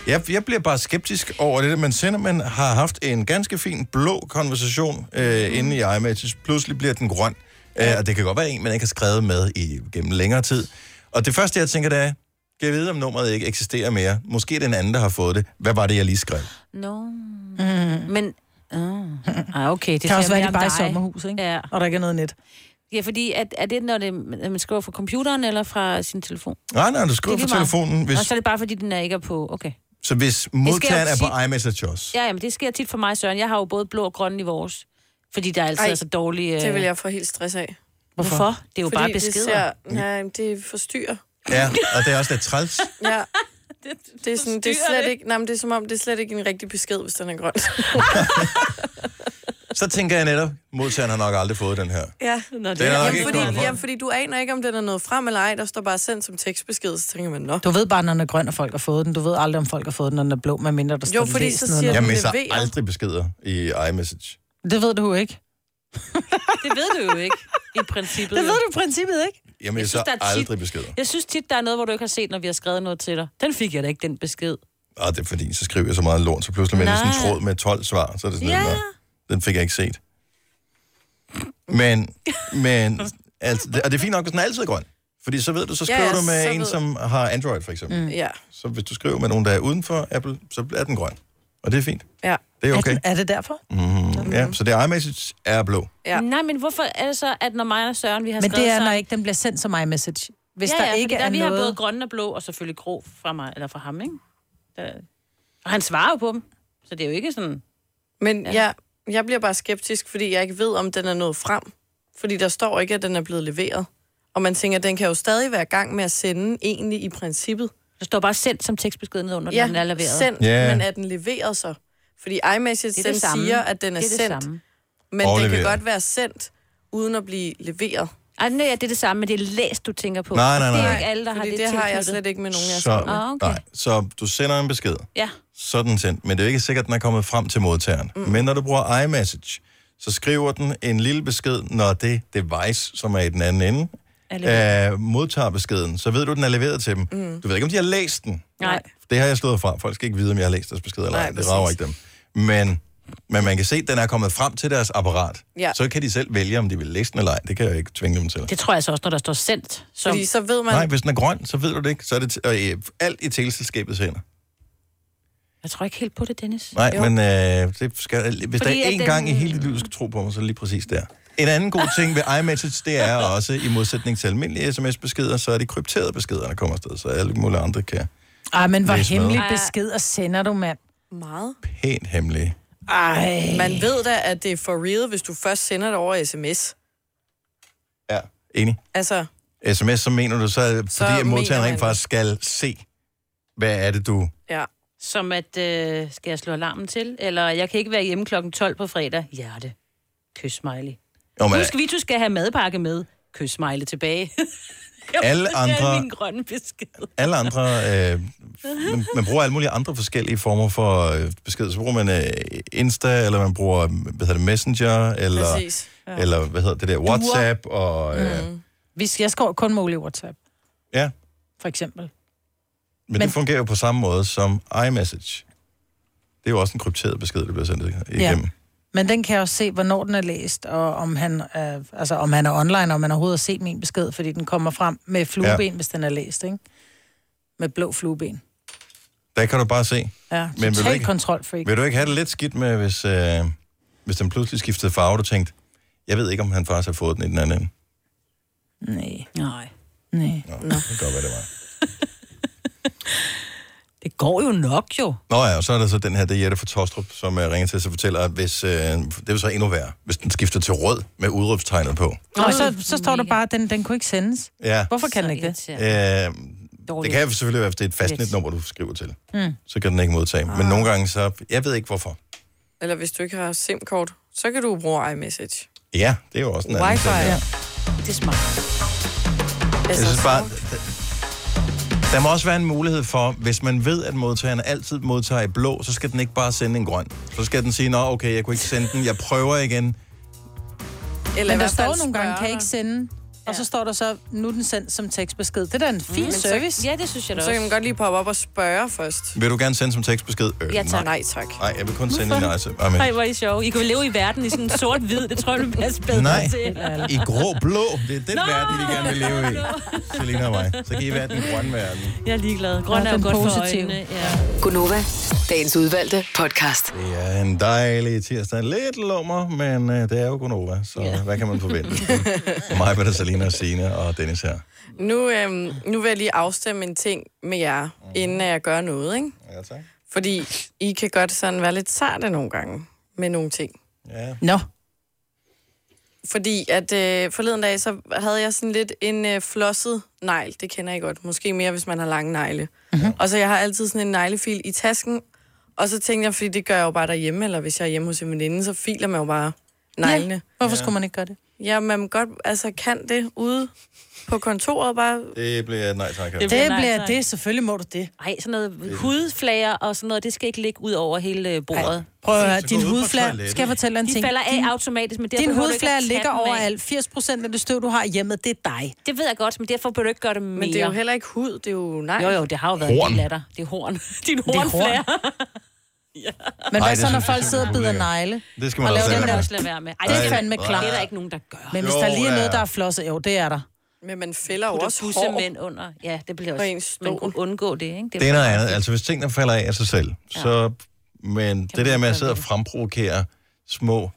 Jeg, jeg bliver bare skeptisk over det, der. man sender, man har haft en ganske fin blå konversation øh, inde i iMessage, pludselig bliver den grøn, øh, og det kan godt være en, man ikke har skrevet med i gennem længere tid. Og det første, jeg tænker, det er, kan jeg vide, om nummeret ikke eksisterer mere? Måske er det en anden, der har fået det. Hvad var det, jeg lige skrev? No. Mm. Men... Oh. Ah, okay. Det Kan siger også være, mere de om bare er i dig. sommerhus, ikke? Ja. Og der ikke er noget net. Ja, fordi at, er det, når det, man skriver fra computeren eller fra sin telefon? Nej, nej, du skriver Det er på lige meget. telefonen. Hvis, Og så er det bare, fordi den er ikke er på... Okay. så hvis modtageren er på iMessage også. Ja, jamen, det sker tit for mig, Søren. Jeg har jo både blå og grønne i vores. Fordi der er altid Ej, Ej, så dårlige... øh, Det vil jeg få helt stress af. Hvorfor? Hvorfor? Det er jo Fordi bare beskeder. Det ser, nej, det forstyrrer. Ja, og det er også lidt træls. Ja. Det, det, er sådan, det er forstyrrer slet det. ikke, nej, men det er som om, det er slet ikke en rigtig besked, hvis den er grøn. Så tænker jeg netop, modtageren har nok aldrig fået den her. ja, er nok ikke jamen, grøn. fordi, jamen, fordi du aner ikke, om den er noget frem eller ej. Der står bare sendt som tekstbesked, så tænker man, nå. Du ved bare, når den er grøn, og folk har fået den. Du ved aldrig, om folk har fået den, når den er blå, medmindre der står Jo, fordi læs så nedenunder. siger Jeg misser aldrig beskeder i iMessage. Det ved du jo ikke. Det ved du jo ikke, i princippet. Det ved jo. du i princippet ikke. Jeg misser synes, der er tit- aldrig beskeder. Jeg synes tit, der er noget, hvor du ikke har set, når vi har skrevet noget til dig. Den fik jeg da ikke, den besked. Ah, det er fordi, så skriver jeg så meget lort, så pludselig med sådan en Nej. tråd med 12 svar, så er det sådan Ja. ja. noget, den fik jeg ikke set. Men, men, altså, det- og det er fint nok, hvis den er altid grøn. Fordi så ved du, så Ja, skriver ja, du med så en, ved- som har Android for eksempel. Mm. Ja. Så hvis du skriver med nogen, der er uden for Apple, så er den grøn. Og det er fint. Ja. Det er okay. Er det derfor? Mm, ja, så det er iMessage er blå. Ja. Nej, men hvorfor er det så, at når mig og Søren, vi har Men skrevet det er, når sammen- ikke den bliver sendt som iMessage. Hvis der ikke fordi er vi noget... har både grønne og blå, og selvfølgelig grå fra mig, eller fra ham, ikke? Der... Og han svarer jo på dem, så det er jo ikke sådan... Men ja. jeg, jeg bliver bare skeptisk, fordi jeg ikke ved, om den er nået frem. Fordi der står ikke, at den er blevet leveret. Og man tænker, den kan jo stadig være i gang med at sende, egentlig i princippet. Der står bare sendt som tekstbesked ned under, ja, når den er leveret. sendt, Ja. yeah. men er den leveret så? Fordi iMessage, Det er det det den samme. siger, at den er, Det er det sendt. samme. Men Og den kan leveret. godt være sendt, uden at blive leveret. Ej, nej, ja, det er det samme, men det er læst, du tænker på. Nej, nej, Og Det er nej. jo ikke alle, der Fordi har det det har jeg tilknyttet. slet ikke med nogen, jeg Så, Ah, okay. nej, så du sender en besked. Ja. Så er den sendt. Men det er jo ikke sikkert, at den er kommet frem til modtageren. Mm. Men når du bruger iMessage, så skriver den en lille besked, når det device, som er i den anden ende, øh, modtager beskeden. Så ved du, at den er leveret til dem. Mm. Du ved ikke, om de har læst den. Nej. Det har jeg slået fra. Folk skal ikke vide, om jeg har læst deres besked eller ej. Det rager ikke dem. Men, men man kan se, at den er kommet frem til deres apparat. Ja. Så kan de selv vælge, om de vil læse den eller ej. Det kan jeg jo ikke tvinge dem til. Det tror jeg så også, når der står sendt. Som... Fordi så ved man... Nej, hvis den er grøn, så ved du det ikke. Så er det t- og, øh, alt i teleselskabets hænder. Jeg tror ikke helt på det, Dennis. Nej, jo. men øh, det skal, hvis Fordi der er at én den- gang i hele dit liv, du skal tro på mig, så er det lige præcis der. En anden god ting ved iMessage, det er også, i modsætning til almindelige sms-beskeder, så er det krypterede beskeder, der kommer afsted, så alle mulige andre kan Ej, men hvor Læs med. hemmelig Ej. beskeder sender du, mand. Meget. pænt hemmelige. Ej. Man ved da, at det er for real, hvis du først sender det over sms. Ja. Enig? Altså, Sms, så mener du så, er det, Så fordi at mener modtageren han- rent faktisk skal se, hvad er det, du... ja. Som at, øh, skal jeg slå alarmen til? Eller jeg kan ikke være hjemme klokken 12 på fredag. Hjerte. Kys smiley. Jo, men, Husk, vi du skal have madpakke med. Kys smiley tilbage. Alle Det er andre- min grønne besked. alle andre... Øh, man, man bruger alle mulige andre forskellige former for øh, beskeder. Så bruger man øh, Insta, eller man bruger øh, hvad hedder det, Messenger, eller, Præcis, ja. eller hvad hedder det der, WhatsApp, og... Øh, mm. Hvis jeg skår kun mulig WhatsApp, Ja, for eksempel. men, men det fungerer jo på samme måde som iMessage. Det er jo også en krypteret besked, der bliver sendt igennem. Ja. Men den kan jeg også se, hvornår den er læst, og om han, øh, altså, om han er online, og om han overhovedet har set min besked, fordi den kommer frem med flueben, ja. hvis den er læst, ikke? Med blå flueben. Der kan du bare se. Ja, Men vil men du total ikke- kontrolfreak. Vil du ikke have det lidt skidt med, hvis, øh, hvis den pludselig skiftede farve, og du tænkte, jeg ved ikke, om han faktisk har fået den i den anden ende. Nej. Nej. Nej. Nå, det kan godt være, det var. Det går jo nok, jo. Nå ja, og så er der så den her, det er Jette fra Tostrup, som uh, ringer til os og fortæller, at hvis, uh, det er jo så endnu værre, hvis den skifter til rød med udråbstegnet på. Og så, så står der bare, at den, den kunne ikke sendes. Ja. Hvorfor kan den ikke det? Uh, det kan selvfølgelig være, hvis det er et fastnetnummer, du skriver til. Hmm. Mm. Så kan den ikke modtage. Men Ah. nogle gange så, jeg ved ikke hvorfor. Eller hvis du ikke har SIM-kort, så kan du bruge iMessage. Ja, det er jo også en anden Wi-Fi. ting. Ja. Ja. Det er smart. Jeg Altså, synes bare, der må også være en mulighed for, hvis man ved, at modtageren altid modtager i blå, så skal den ikke bare sende en grøn. Så skal den sige, nå okay, jeg kunne ikke sende den, jeg prøver igen. Eller Eller Øh. i Men der hvert fald står nogle gange, kan spørge. ikke sende. Og så står der så, nu er den sendt som tekstbesked. Det er da en fin Men mm, så- service. ja, det synes jeg da Så kan man godt lige poppe op og spørge først. Vil du gerne sende som tekstbesked? Øh, Jeg tager nej, tak. Nej, jeg vil kun sende en Hvorfor? nej. så- Ej, men- Nej, hvor er I sjove. I kunne leve i verden i sådan en sort-hvid. Det tror jeg, ville passe bedre Nej, til. i grå-blå. Det er den Nå! verden, vi gerne vil leve i. Selina og mig. Så kan I være den grønne verden. Jeg er ligeglad. Grøn er jo den godt for positive. øjnene. Ja. Gunova, dagens udvalgte podcast. Det er en dejlig tirsdag. Lidt lummer, men øh, det er jo kun over, så ja. hvad kan man forvente? mig, Peter, Selina, Signe og Dennis her. Nu, øhm, nu vil jeg lige afstemme en ting med jer, mm. inden at jeg gør noget, ikke? Mhm. Ja, tak. Fordi I kan godt sådan være lidt sarte nogle gange med nogle ting. Ja. Nå. Fordi at øh, forleden dag, så havde jeg sådan lidt en øh, flosset negl. Det kender I godt. Måske mere, hvis man har lange negle. Mm-hmm. Og så jeg har altid sådan en neglefil i tasken. Og så tænkte jeg, fordi det gør jeg jo bare derhjemme, eller hvis jeg er hjemme hos en veninde, så filer man jo bare neglene. Ja. Hvorfor skulle man ikke gøre det? Ja, man godt, altså kan det ude på kontoret bare. Det bliver et nej, tak. altså. her. Det bliver, det, bliver det. Selvfølgelig må du det. Ej, sådan noget hudflager og sådan noget, det skal ikke ligge ud over hele øh, bordet. Ej, Prøv at høre, din hudflade, skal jeg fortælle dig en de ting? falder af Din- automatisk, men derfor Din behøver du ikke at hudflade tage ligger dem af. overalt. 80 procent af det støv, du har hjemme, det er dig. Det ved jeg godt, men derfor bør du ikke gøre det mere. Men det er jo heller ikke hud, det er jo nej. Jo, jo, det har jo været Horn. en del af dig. Det er horn. Din horn. hornflager. Men Ej, hvad det så, når synes jeg folk sidder og bider ulækkert. negle? Det skal man og også laver lade den der- være med. Lad være med. Ej, Det er skal- fandme klart. Det er der ikke nogen, der gør. Men hvis Jo, der lige er ja. noget, der er flosset, jo, det er der. Men man fælder jo Putter også hår. bussemænd under. Ja, det bliver På ens også... Man kunne undgå det, ikke? Det er noget andet. Altså, hvis tingene falder af af sig selv, ja. så Men det der med at sidde og fremprovokere små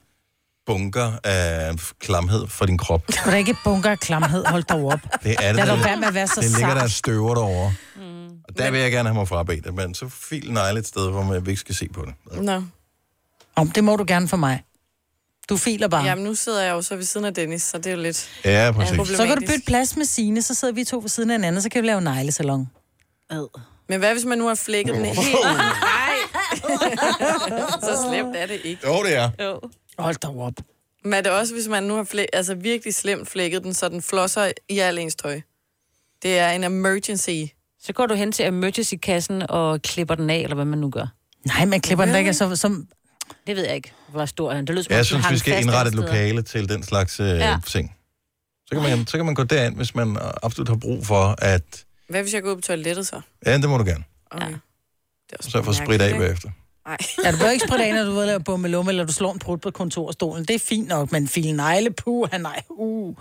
bunker af klamhed fra din krop, Sgu da ikke bunker af klamhed, hold dig op. det er det. Lad der- dog være med at være så Det ligger der sart. støver derovre. Mm. Og der vil jeg gerne have mig frabedt, men så fil negle et sted, hvor man ikke skal se på det. Nå. Om det må du gerne for mig. Du filer bare. Jamen, nu sidder jeg jo så ved siden af Dennis, så det er jo lidt... Ja, præcis. Så kan du bytte plads med Sine, så sidder vi to ved siden af hinanden, så kan vi lave neglesalon. Men hvad hvis man nu har flækket den helt? Nej! så slemt er det ikke. Jo, det er. Jo. Hold da op. Men er det også, hvis man nu har flæ- altså virkelig slemt flækket den, så den flosser i al ens tøj? Det er en emergency. Så går du hen til emergency-kassen og klipper den af, eller hvad man nu gør. Nej, man klipper den da ikke, så, som... Det ved jeg ikke, hvor stor han. Det lyder, som om, Jeg den synes, hang vi skal fast indrette et alle steder. lokale til den slags øh, Ja. ja. ting. Så kan, man, så kan man gå derind, hvis man øh, absolut har brug for, at... Hvad hvis jeg går ud på toilettet så? Ja, det må du gerne. Okay. Ja. Så får sprit af bagefter. Nej. Ja, du behøver ikke spritte af, når du er ude og lave bummelum, eller du slår en prut på kontorstolen. Det er fint nok, men file negle, puh, nej, uh.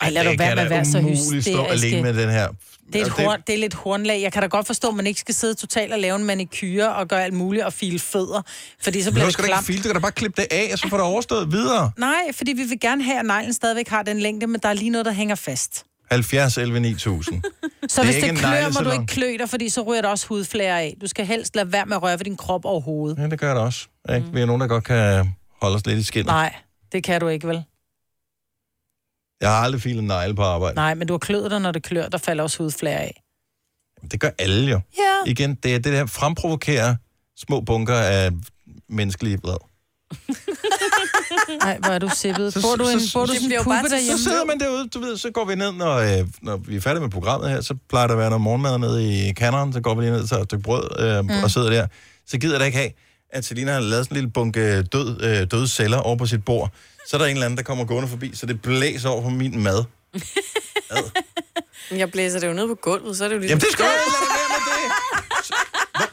Ej, lad du det være kan med at da være så umuligt stå alene med hysterisk. den her. Det er, et Altså, det- horn, det er lidt hornlag. Jeg kan da godt forstå, at man ikke skal sidde totalt og lave en manikyre og gøre alt muligt og file fødder, fordi så bliver Du behøver det sgu da ikke klamt. file, du kan da bare klippe det af, og så får det overstået videre. Nej, fordi vi vil gerne have, at neglen stadigvæk har den længde, men der er lige noget, der hænger fast. 70, 11, 9000. Så Det er det hvis ikke en det klør, må du neglesalon. ikke klø dig, fordi så ryger der også hudflære af. Du skal helst lade være med at røre ved din krop overhovedet. Ja, det gør det også. Ikke? Mm. Vi er nogen, der godt kan holde os lidt i skinnet. Nej, det kan du ikke, vel? Jeg har aldrig filet en negle på arbejde. Nej, men du har kløet dig, når det klør, der falder også hudflære af. Det gør alle jo. Ja. Igen, det er det der fremprovokere små bunker af menneskelige blad. Nej, hvor er du sippet. Bor du en, bor du sådan en puppe derhjemme? Så sidder man derude, du ved, så går vi ned, når, øh, når vi er færdige med programmet her, så plejer der at være noget morgenmad nede i kanderen, så går vi lige ned og tager et stykke brød øh, Mm. mm. og sidder der. Så gider jeg da ikke have, at Selina har lavet sådan en lille bunke død, øh, døde celler over på sit bord. Så er der en eller anden, der kommer gående forbi, så det blæser over på min mad. Jeg blæser det jo ned på gulvet, så er det jo ligesom- lige... Jamen, det skal du ikke lade være med det!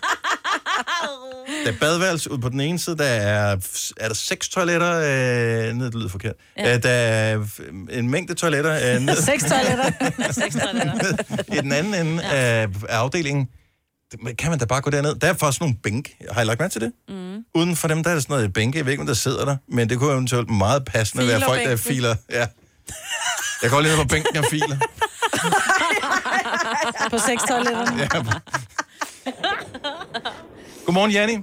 Der er badeværelse ude på den ene side, der er, er der seks toiletter, øh, ned, det lyder forkert, Ja. ja. øh, der er f- en mængde toiletter øh, ned, Seks toiletter. Seks toiletter. i den anden ende ja. af, af afdelingen. Det- men Kan man da bare gå derned? Der er faktisk nogle bænk. Har I lagt mærke til det? Mm. Uden for dem, der er der sådan noget bænke. Jeg ved ikke, om der sidder der, men det kunne eventuelt meget passende være folk, der Filerbænken. filer. Ja. Jeg går lige ned på bænken og filer. På seks toiletterne. Ja. Godmorgen, Janni.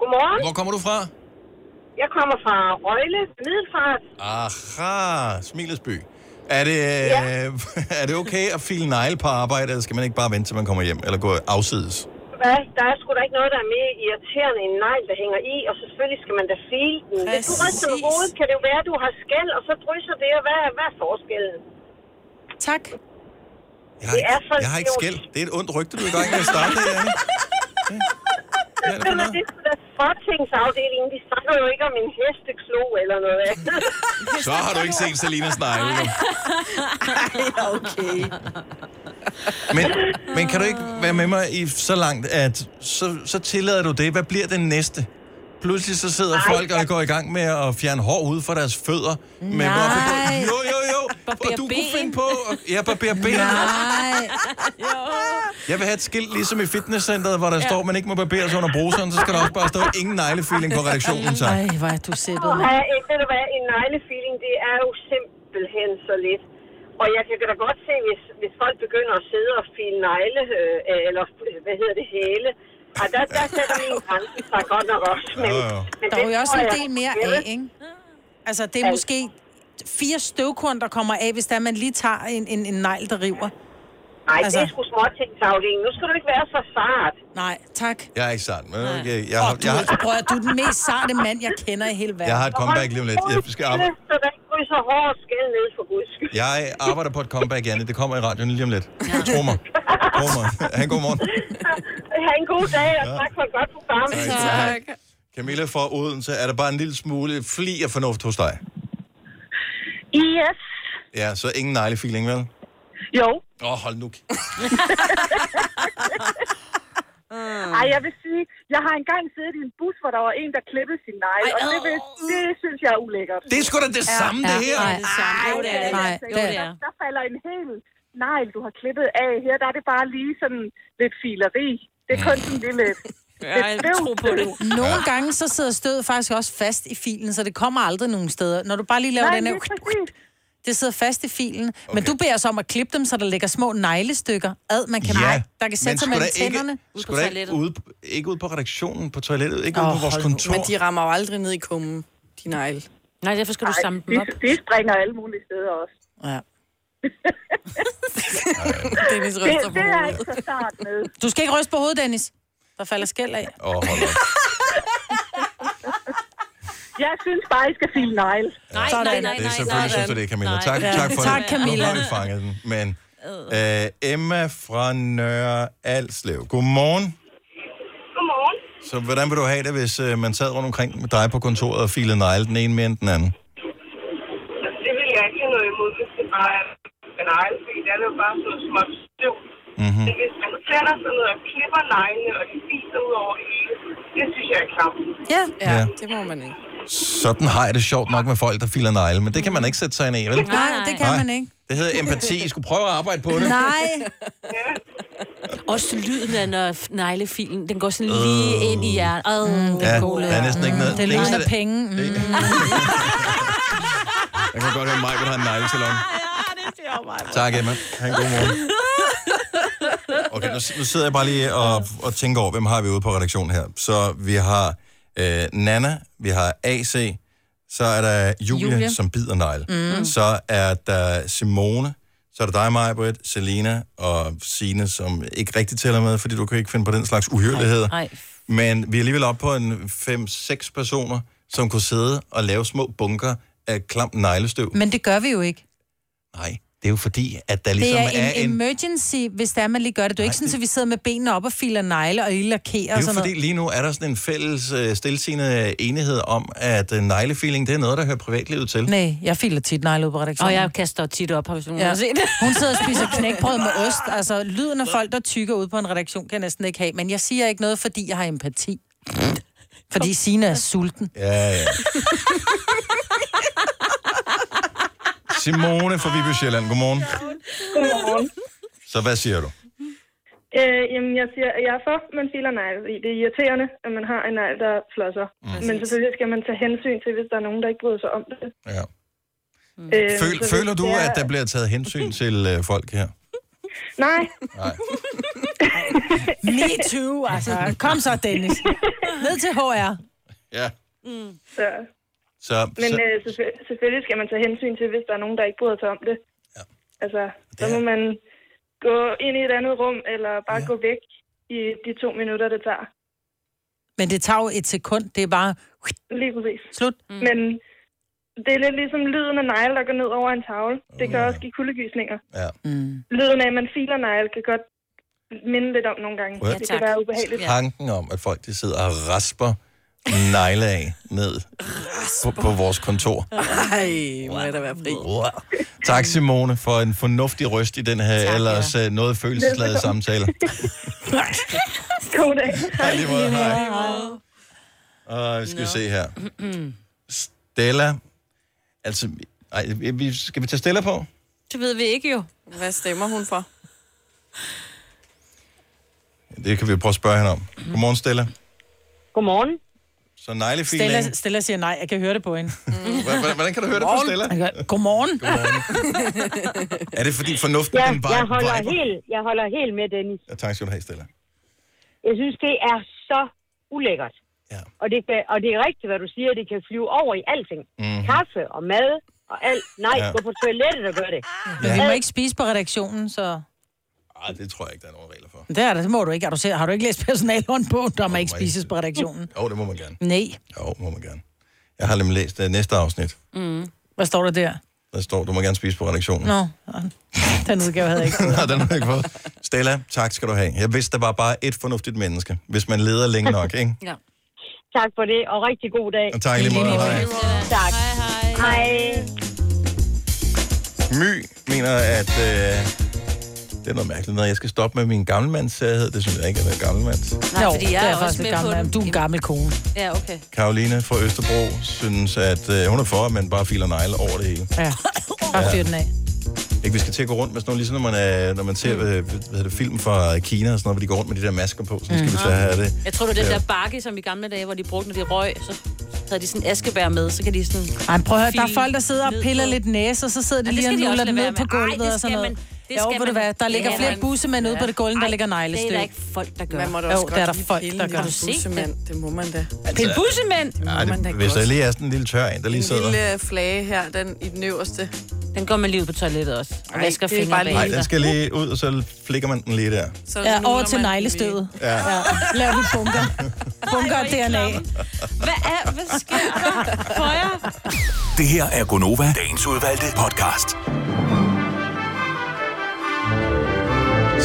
Godmorgen. Hvor kommer du fra? Jeg kommer fra Røgle, Middelfart. Aha, Smilesby. Er det, ja. er det okay at file negle på arbejde, eller skal man ikke bare vente, til man kommer hjem, eller gå afsides? Hvad? Der er sgu da ikke noget, der er mere irriterende end en negl, der hænger i, og selvfølgelig skal man da file den. Hvis du ryster med Præcis. hovedet, kan det jo være, at du har skæld, og så drysser det, og hvad, er- hvad er forskellen? Tak. Jeg har, Det er ikke, for jeg har ikke idiot. skæld. Det er et ondt rygte, du er i gang med at starte det, Janne. Ja, det, er det er fortingsafdelingen. De snakker jo ikke om en hesteklo eller noget andet. Så har du ikke set Selinas negle. jo. Ej, okay. Men, men kan du ikke være med mig i så langt, at så, så tillader du det? Hvad bliver den næste? Pludselig så sidder Ej, folk og går i gang med at fjerne hår ud fra deres fødder. Med Nej. barberbø- Jo, jo, jo. Barberer Og du kunne ben. finde på... At, ja, barbere ben. Jeg vil have et skilt, ligesom i fitnesscenteret, hvor der ja. står, man ikke må barbere sig under bruseren, så skal der også bare stå, ingen neglefeeling på redaktionen, tak. Ej, hvor er du sippet. Og mand. have, ved du hvad, en neglefeeling, det er jo simpelthen så lidt. Og jeg kan da godt se, hvis, hvis folk begynder at sidde og file negle, øh, eller øh, hvad hedder det, hæle, og der, der sætter min grænse sig godt nok også. Men, Jo, jo. men Der det er jo også tror en jeg, del mere jeg af, vil. ikke? Altså, det er måske fire støvkorn, der kommer af, hvis der man lige tager en, en, en negl, der river. Nej, altså... Altså. det er sgu småtingsafdelingen. Nu skal du ikke være så sart. Nej, tak. Jeg er ikke sart, men okay. jeg, Åh, har, du, jeg, er- har, prøv at, du er den mest sarte mand, jeg kender i hele verden. Jeg har et comeback lige om lidt. Jeg skal arbejde. Så der ikke krydser hår og skæld ned for guds skyld. jeg arbejder på et comeback, Janne. Det kommer i radioen lige om lidt. Tro mig. Tro mig. Ha' en god morgen. Ha' en god dag, og Ja. tak for et godt program. Tak. Camilla fra Odense, er der bare en lille smule fli af fornuft hos dig? Yes. Ja, så ingen neglefeeling, vel? Jo. Åh, oh, hold nu. kæ- Ah. Ej, jeg vil sige, jeg har engang siddet i en bus, hvor der var en, der klippede sin negle, og det, vil, det synes jeg er ulækkert. Det er sgu da det Ja, samme, det ja, her. Nej, Det er det samme. Jo, det er det. Nej, Nej, altså, jo, det er. Der, der falder en hel negl, du har klippet af her. Der er det bare lige sådan lidt fileri. Det er kun sådan en lille Ej, tro på det. Nogle gange så sidder stødet faktisk også fast i filen, så det kommer aldrig nogen steder. Når du bare lige laver Nej, den her... Det sidder fast i filen. Okay. Men du beder os om at klippe dem, så der ligger små neglestykker ad, man kan, Ja, nej, der kan sætte sig men mellem skulle der tænderne. Ikke, skulle der ikke ude, ikke ude på redaktionen, på toilettet, ikke oh, Åh, ude på vores hold nu. kontor. Men de rammer jo aldrig ned i kummen, de negle. Nej, derfor skal du Ej, samle dem de- op. de springer alle mulige steder også. Ja. Dennis Det, det er ikke så start med. Du skal ikke ryste på hovedet, Dennis. Der falder skæld af. Åh, oh, hold op. Jeg synes bare, I skal file negle. Nej, Sådan. Det er selvfølgelig, synes du det, Camilla. Tak, Ja. tak for Tak, det. Camilla. Nu har vi fanget den. Men øh, Emma fra Nørre Alslev. Godmorgen. Godmorgen. Så hvordan vil du have det, hvis øh, man sad rundt omkring med dig på kontoret og filede negle den ene mere end den anden? Altså, Det vil jeg ikke have noget imod, hvis det bare er banalt, fordi det er jo bare sådan noget småt støv. Mm-hmm. Men hvis man sætter sig ned og klipper neglene, og de fiser ud over det hele, det synes jeg er klamt. Ja, Ja. ja, det må man ikke. Sådan har jeg det sjovt nok med folk, der filer negle, men det kan man ikke sætte sig ind i, vel? Nej, det kan Nej. man ikke. Det hedder empati. I skulle prøve at arbejde på det. Nej. Også lyden af, når neglefilen, den går sådan lige ind i hjertet. Øh, Mm, den Ja, gode der er lyd. næsten ikke noget. Det Det eneste, lyder der- af penge. Mm. Jeg kan godt høre, at Michael har en neglesalon. Tak, Emma. Ha' en god morgen. Okay, nu, nu sidder jeg bare lige og, og tænker over, hvem har vi ude på redaktionen her. Så vi har øh, Nana, vi har AC, så er der Julie, Julie. Julia. som bider negle. Mm. Mm. Så er der Simone, så er der dig, Maja, Britt, Selina og Sine, som ikke rigtig tæller med, fordi du kan ikke finde på den slags uhyreligheder. Nej. Men vi er alligevel oppe på en 5-6 personer, som kunne sidde og lave små bunker af klamt neglestøv. Men det gør vi jo ikke. Nej, det er jo fordi, at der Ligesom ligesom det er en, er en... emergency, hvis det er, man lige gør det. Det er jo ikke sådan, at vi sidder med benene op og filer negle og lige Det lakerer er og jo sådan fordi, noget. lige nu er der sådan en fælles øh, stilsigende enighed om, at øh, neglefeeling, det er noget, der hører privatlivet til. Nej, jeg filer tit negle ud på redaktionen. Og jeg kaster tit op, hvis nogen Ja. har set det. Hun sidder og spiser knækbrød med ost. Altså, lyden af folk, der tykker ud på en redaktion, kan jeg næsten ikke have. Men jeg siger ikke noget, fordi jeg har empati. Fordi Sina er sulten. Ja, ja. Simone fra Viby Sjælland, godmorgen. Godmorgen. Så hvad siger du? Øh, jamen, jeg siger, at jeg er for, at man filer negl, fordi det er irriterende, at man har en negl, der flosser. Mm. Men selvfølgelig skal man tage hensyn til, hvis der er nogen, der ikke bryder sig om det. Ja. Øh, så Føl, hvis føler du, det er- at der bliver taget hensyn til øh, folk her? Nej. Nej. Me too, altså. Kom så, Dennis. Ned til HR. Ja. Mm. Så. Så, Men så øh, selvfø- selvfølgelig skal man tage hensyn til, hvis der er nogen, der ikke bryder sig om det. Ja. Altså, så må man gå ind i et andet rum, eller bare ja. gå væk i de to minutter, det tager. Men det tager jo et sekund. Det er bare... Lige præcis. Slut. Mm. Men det er lidt ligesom lyden af negle, der går ned over en tavle. Det kan også give kuldegysninger. Ja. Mm. Lyden af, at man filer negle, kan godt minde lidt om nogle gange. Ja, det tak. kan være ubehageligt. tanken om, at folk de sidder og rasper negle af ned på, på vores kontor. Ej, må jeg da være fri. Tak, Simone, for en fornuftig røst i den her tak, ellers ja. noget følelsesladede Velbekomme. samtale. God dag. Hej, lige måde. Hej. Og vi skal no. se her. Stella. Altså, ej, vi, skal vi tage Stella på? Det ved vi ikke jo. Hvad stemmer hun for? Det kan vi prøve at spørge hende om. Godmorgen, Stella. Godmorgen. Så neglefilen. Stella, Stella siger nej. Jeg kan høre det på hende. Hvordan, hvordan kan du høre det på Godmorgen. Stella? Jeg kan- Godmorgen. Er det fordi fornuften Jeg, den vej, jeg, holder vejber? helt, jeg holder helt med Dennis. Ja, tak skal du have, Stella. Jeg synes, det er så ulækkert. Ja. Og, det kan, og det er rigtigt, hvad du siger. Det kan flyve over i alting. Mhm. Mm. Kaffe og mad og alt. Nej, Ja. ja. gå på toilettet og gør det. Men vi må ikke spise på redaktionen, så... Ej, det tror jeg ikke, der er nogen regler for. Det er det, det må du ikke. Har du, set, har du ikke læst personalhånd på, der må ikke må spises ikke. på redaktionen? Jo, det må man gerne. Nej. Jo, må man gerne. Jeg har nemlig læst uh, næste afsnit. Mm. Hvad står der der? Der står, du må gerne spise på redaktionen. Nå, den udgave havde jeg ikke. Nej, den har jeg ikke fået. Stella, tak skal du have. Jeg vidste, der var bare et fornuftigt menneske, hvis man leder længe nok, ikke? Ja. Tak for det, og rigtig god dag. Og tak i lige måde. Hej. Tak. Hej, hej. hej. My mener, at øh, det er noget mærkeligt noget. Jeg skal stoppe med min gammelmandssærhed. Det synes jeg ikke er noget gammelmands. Nej, Jo, fordi jeg det er er, også faktisk med lidt gammel. på den. Du er en gammel kone. Ja, okay. Karoline fra Østerbro synes, at øh, hun er for, at man bare filer negle over det hele. Ja, bare fyr den af. Det Ikke, vi skal til at gå rundt med sådan noget, ligesom når man, er, når man ser mm. hvad, hvad hedder det, film fra Kina og sådan noget, hvor de går rundt med de der masker på, så mm. skal vi tage her det. Jeg tror, det er den Ja. der bakke, som i gamle dage, hvor de brugte, når de røg, så havde de sådan en askebær med, så kan de sådan... Ej, prøv at høre, der er file folk, der sidder og ned piller på. lidt næse, og så sidder de Ej, det lige og skal de også nuller dem lade ned være på med. Ej, gulvet det og sådan skal noget. man- det jo, skal ved du man- hvad, der det ligger er flere man- bussemænd ude på det gulv, end der ligger Det er neglestøv. der ikke folk, der gør. Man må da også Jo, godt der er der lige folk, pille der en gør. lille bussemand. Det må man da. Altså- Det er en bussemand. Ej, det, hvis der lige er sådan en lille tør en, der lige En sidder. lille flage her, den i den øverste. Den går man lige ud på toilettet også. Og Ej, vasker det er fingre bare bag. Nej, den skal lige ud, og så flikker man den lige der. Så Ja, over nuller til man neglestøvet. Ja. Ja, laver vi bunker. Bunker og DNA. Hvad er... Hvad sker der for jer? Det her er Gonova, dagens udvalgte podcast.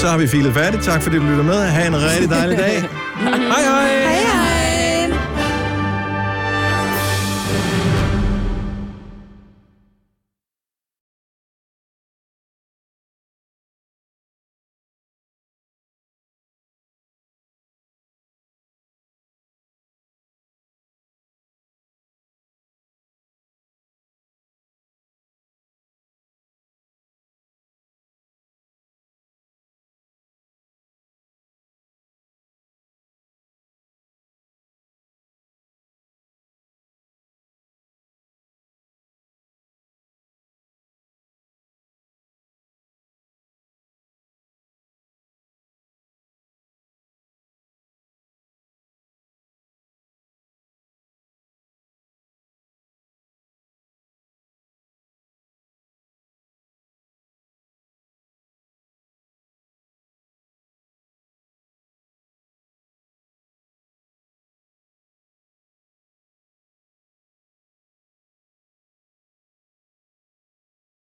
Så har vi filet færdigt. Tak fordi du lytter med. Ha' en rigtig dejlig dag. hej hej!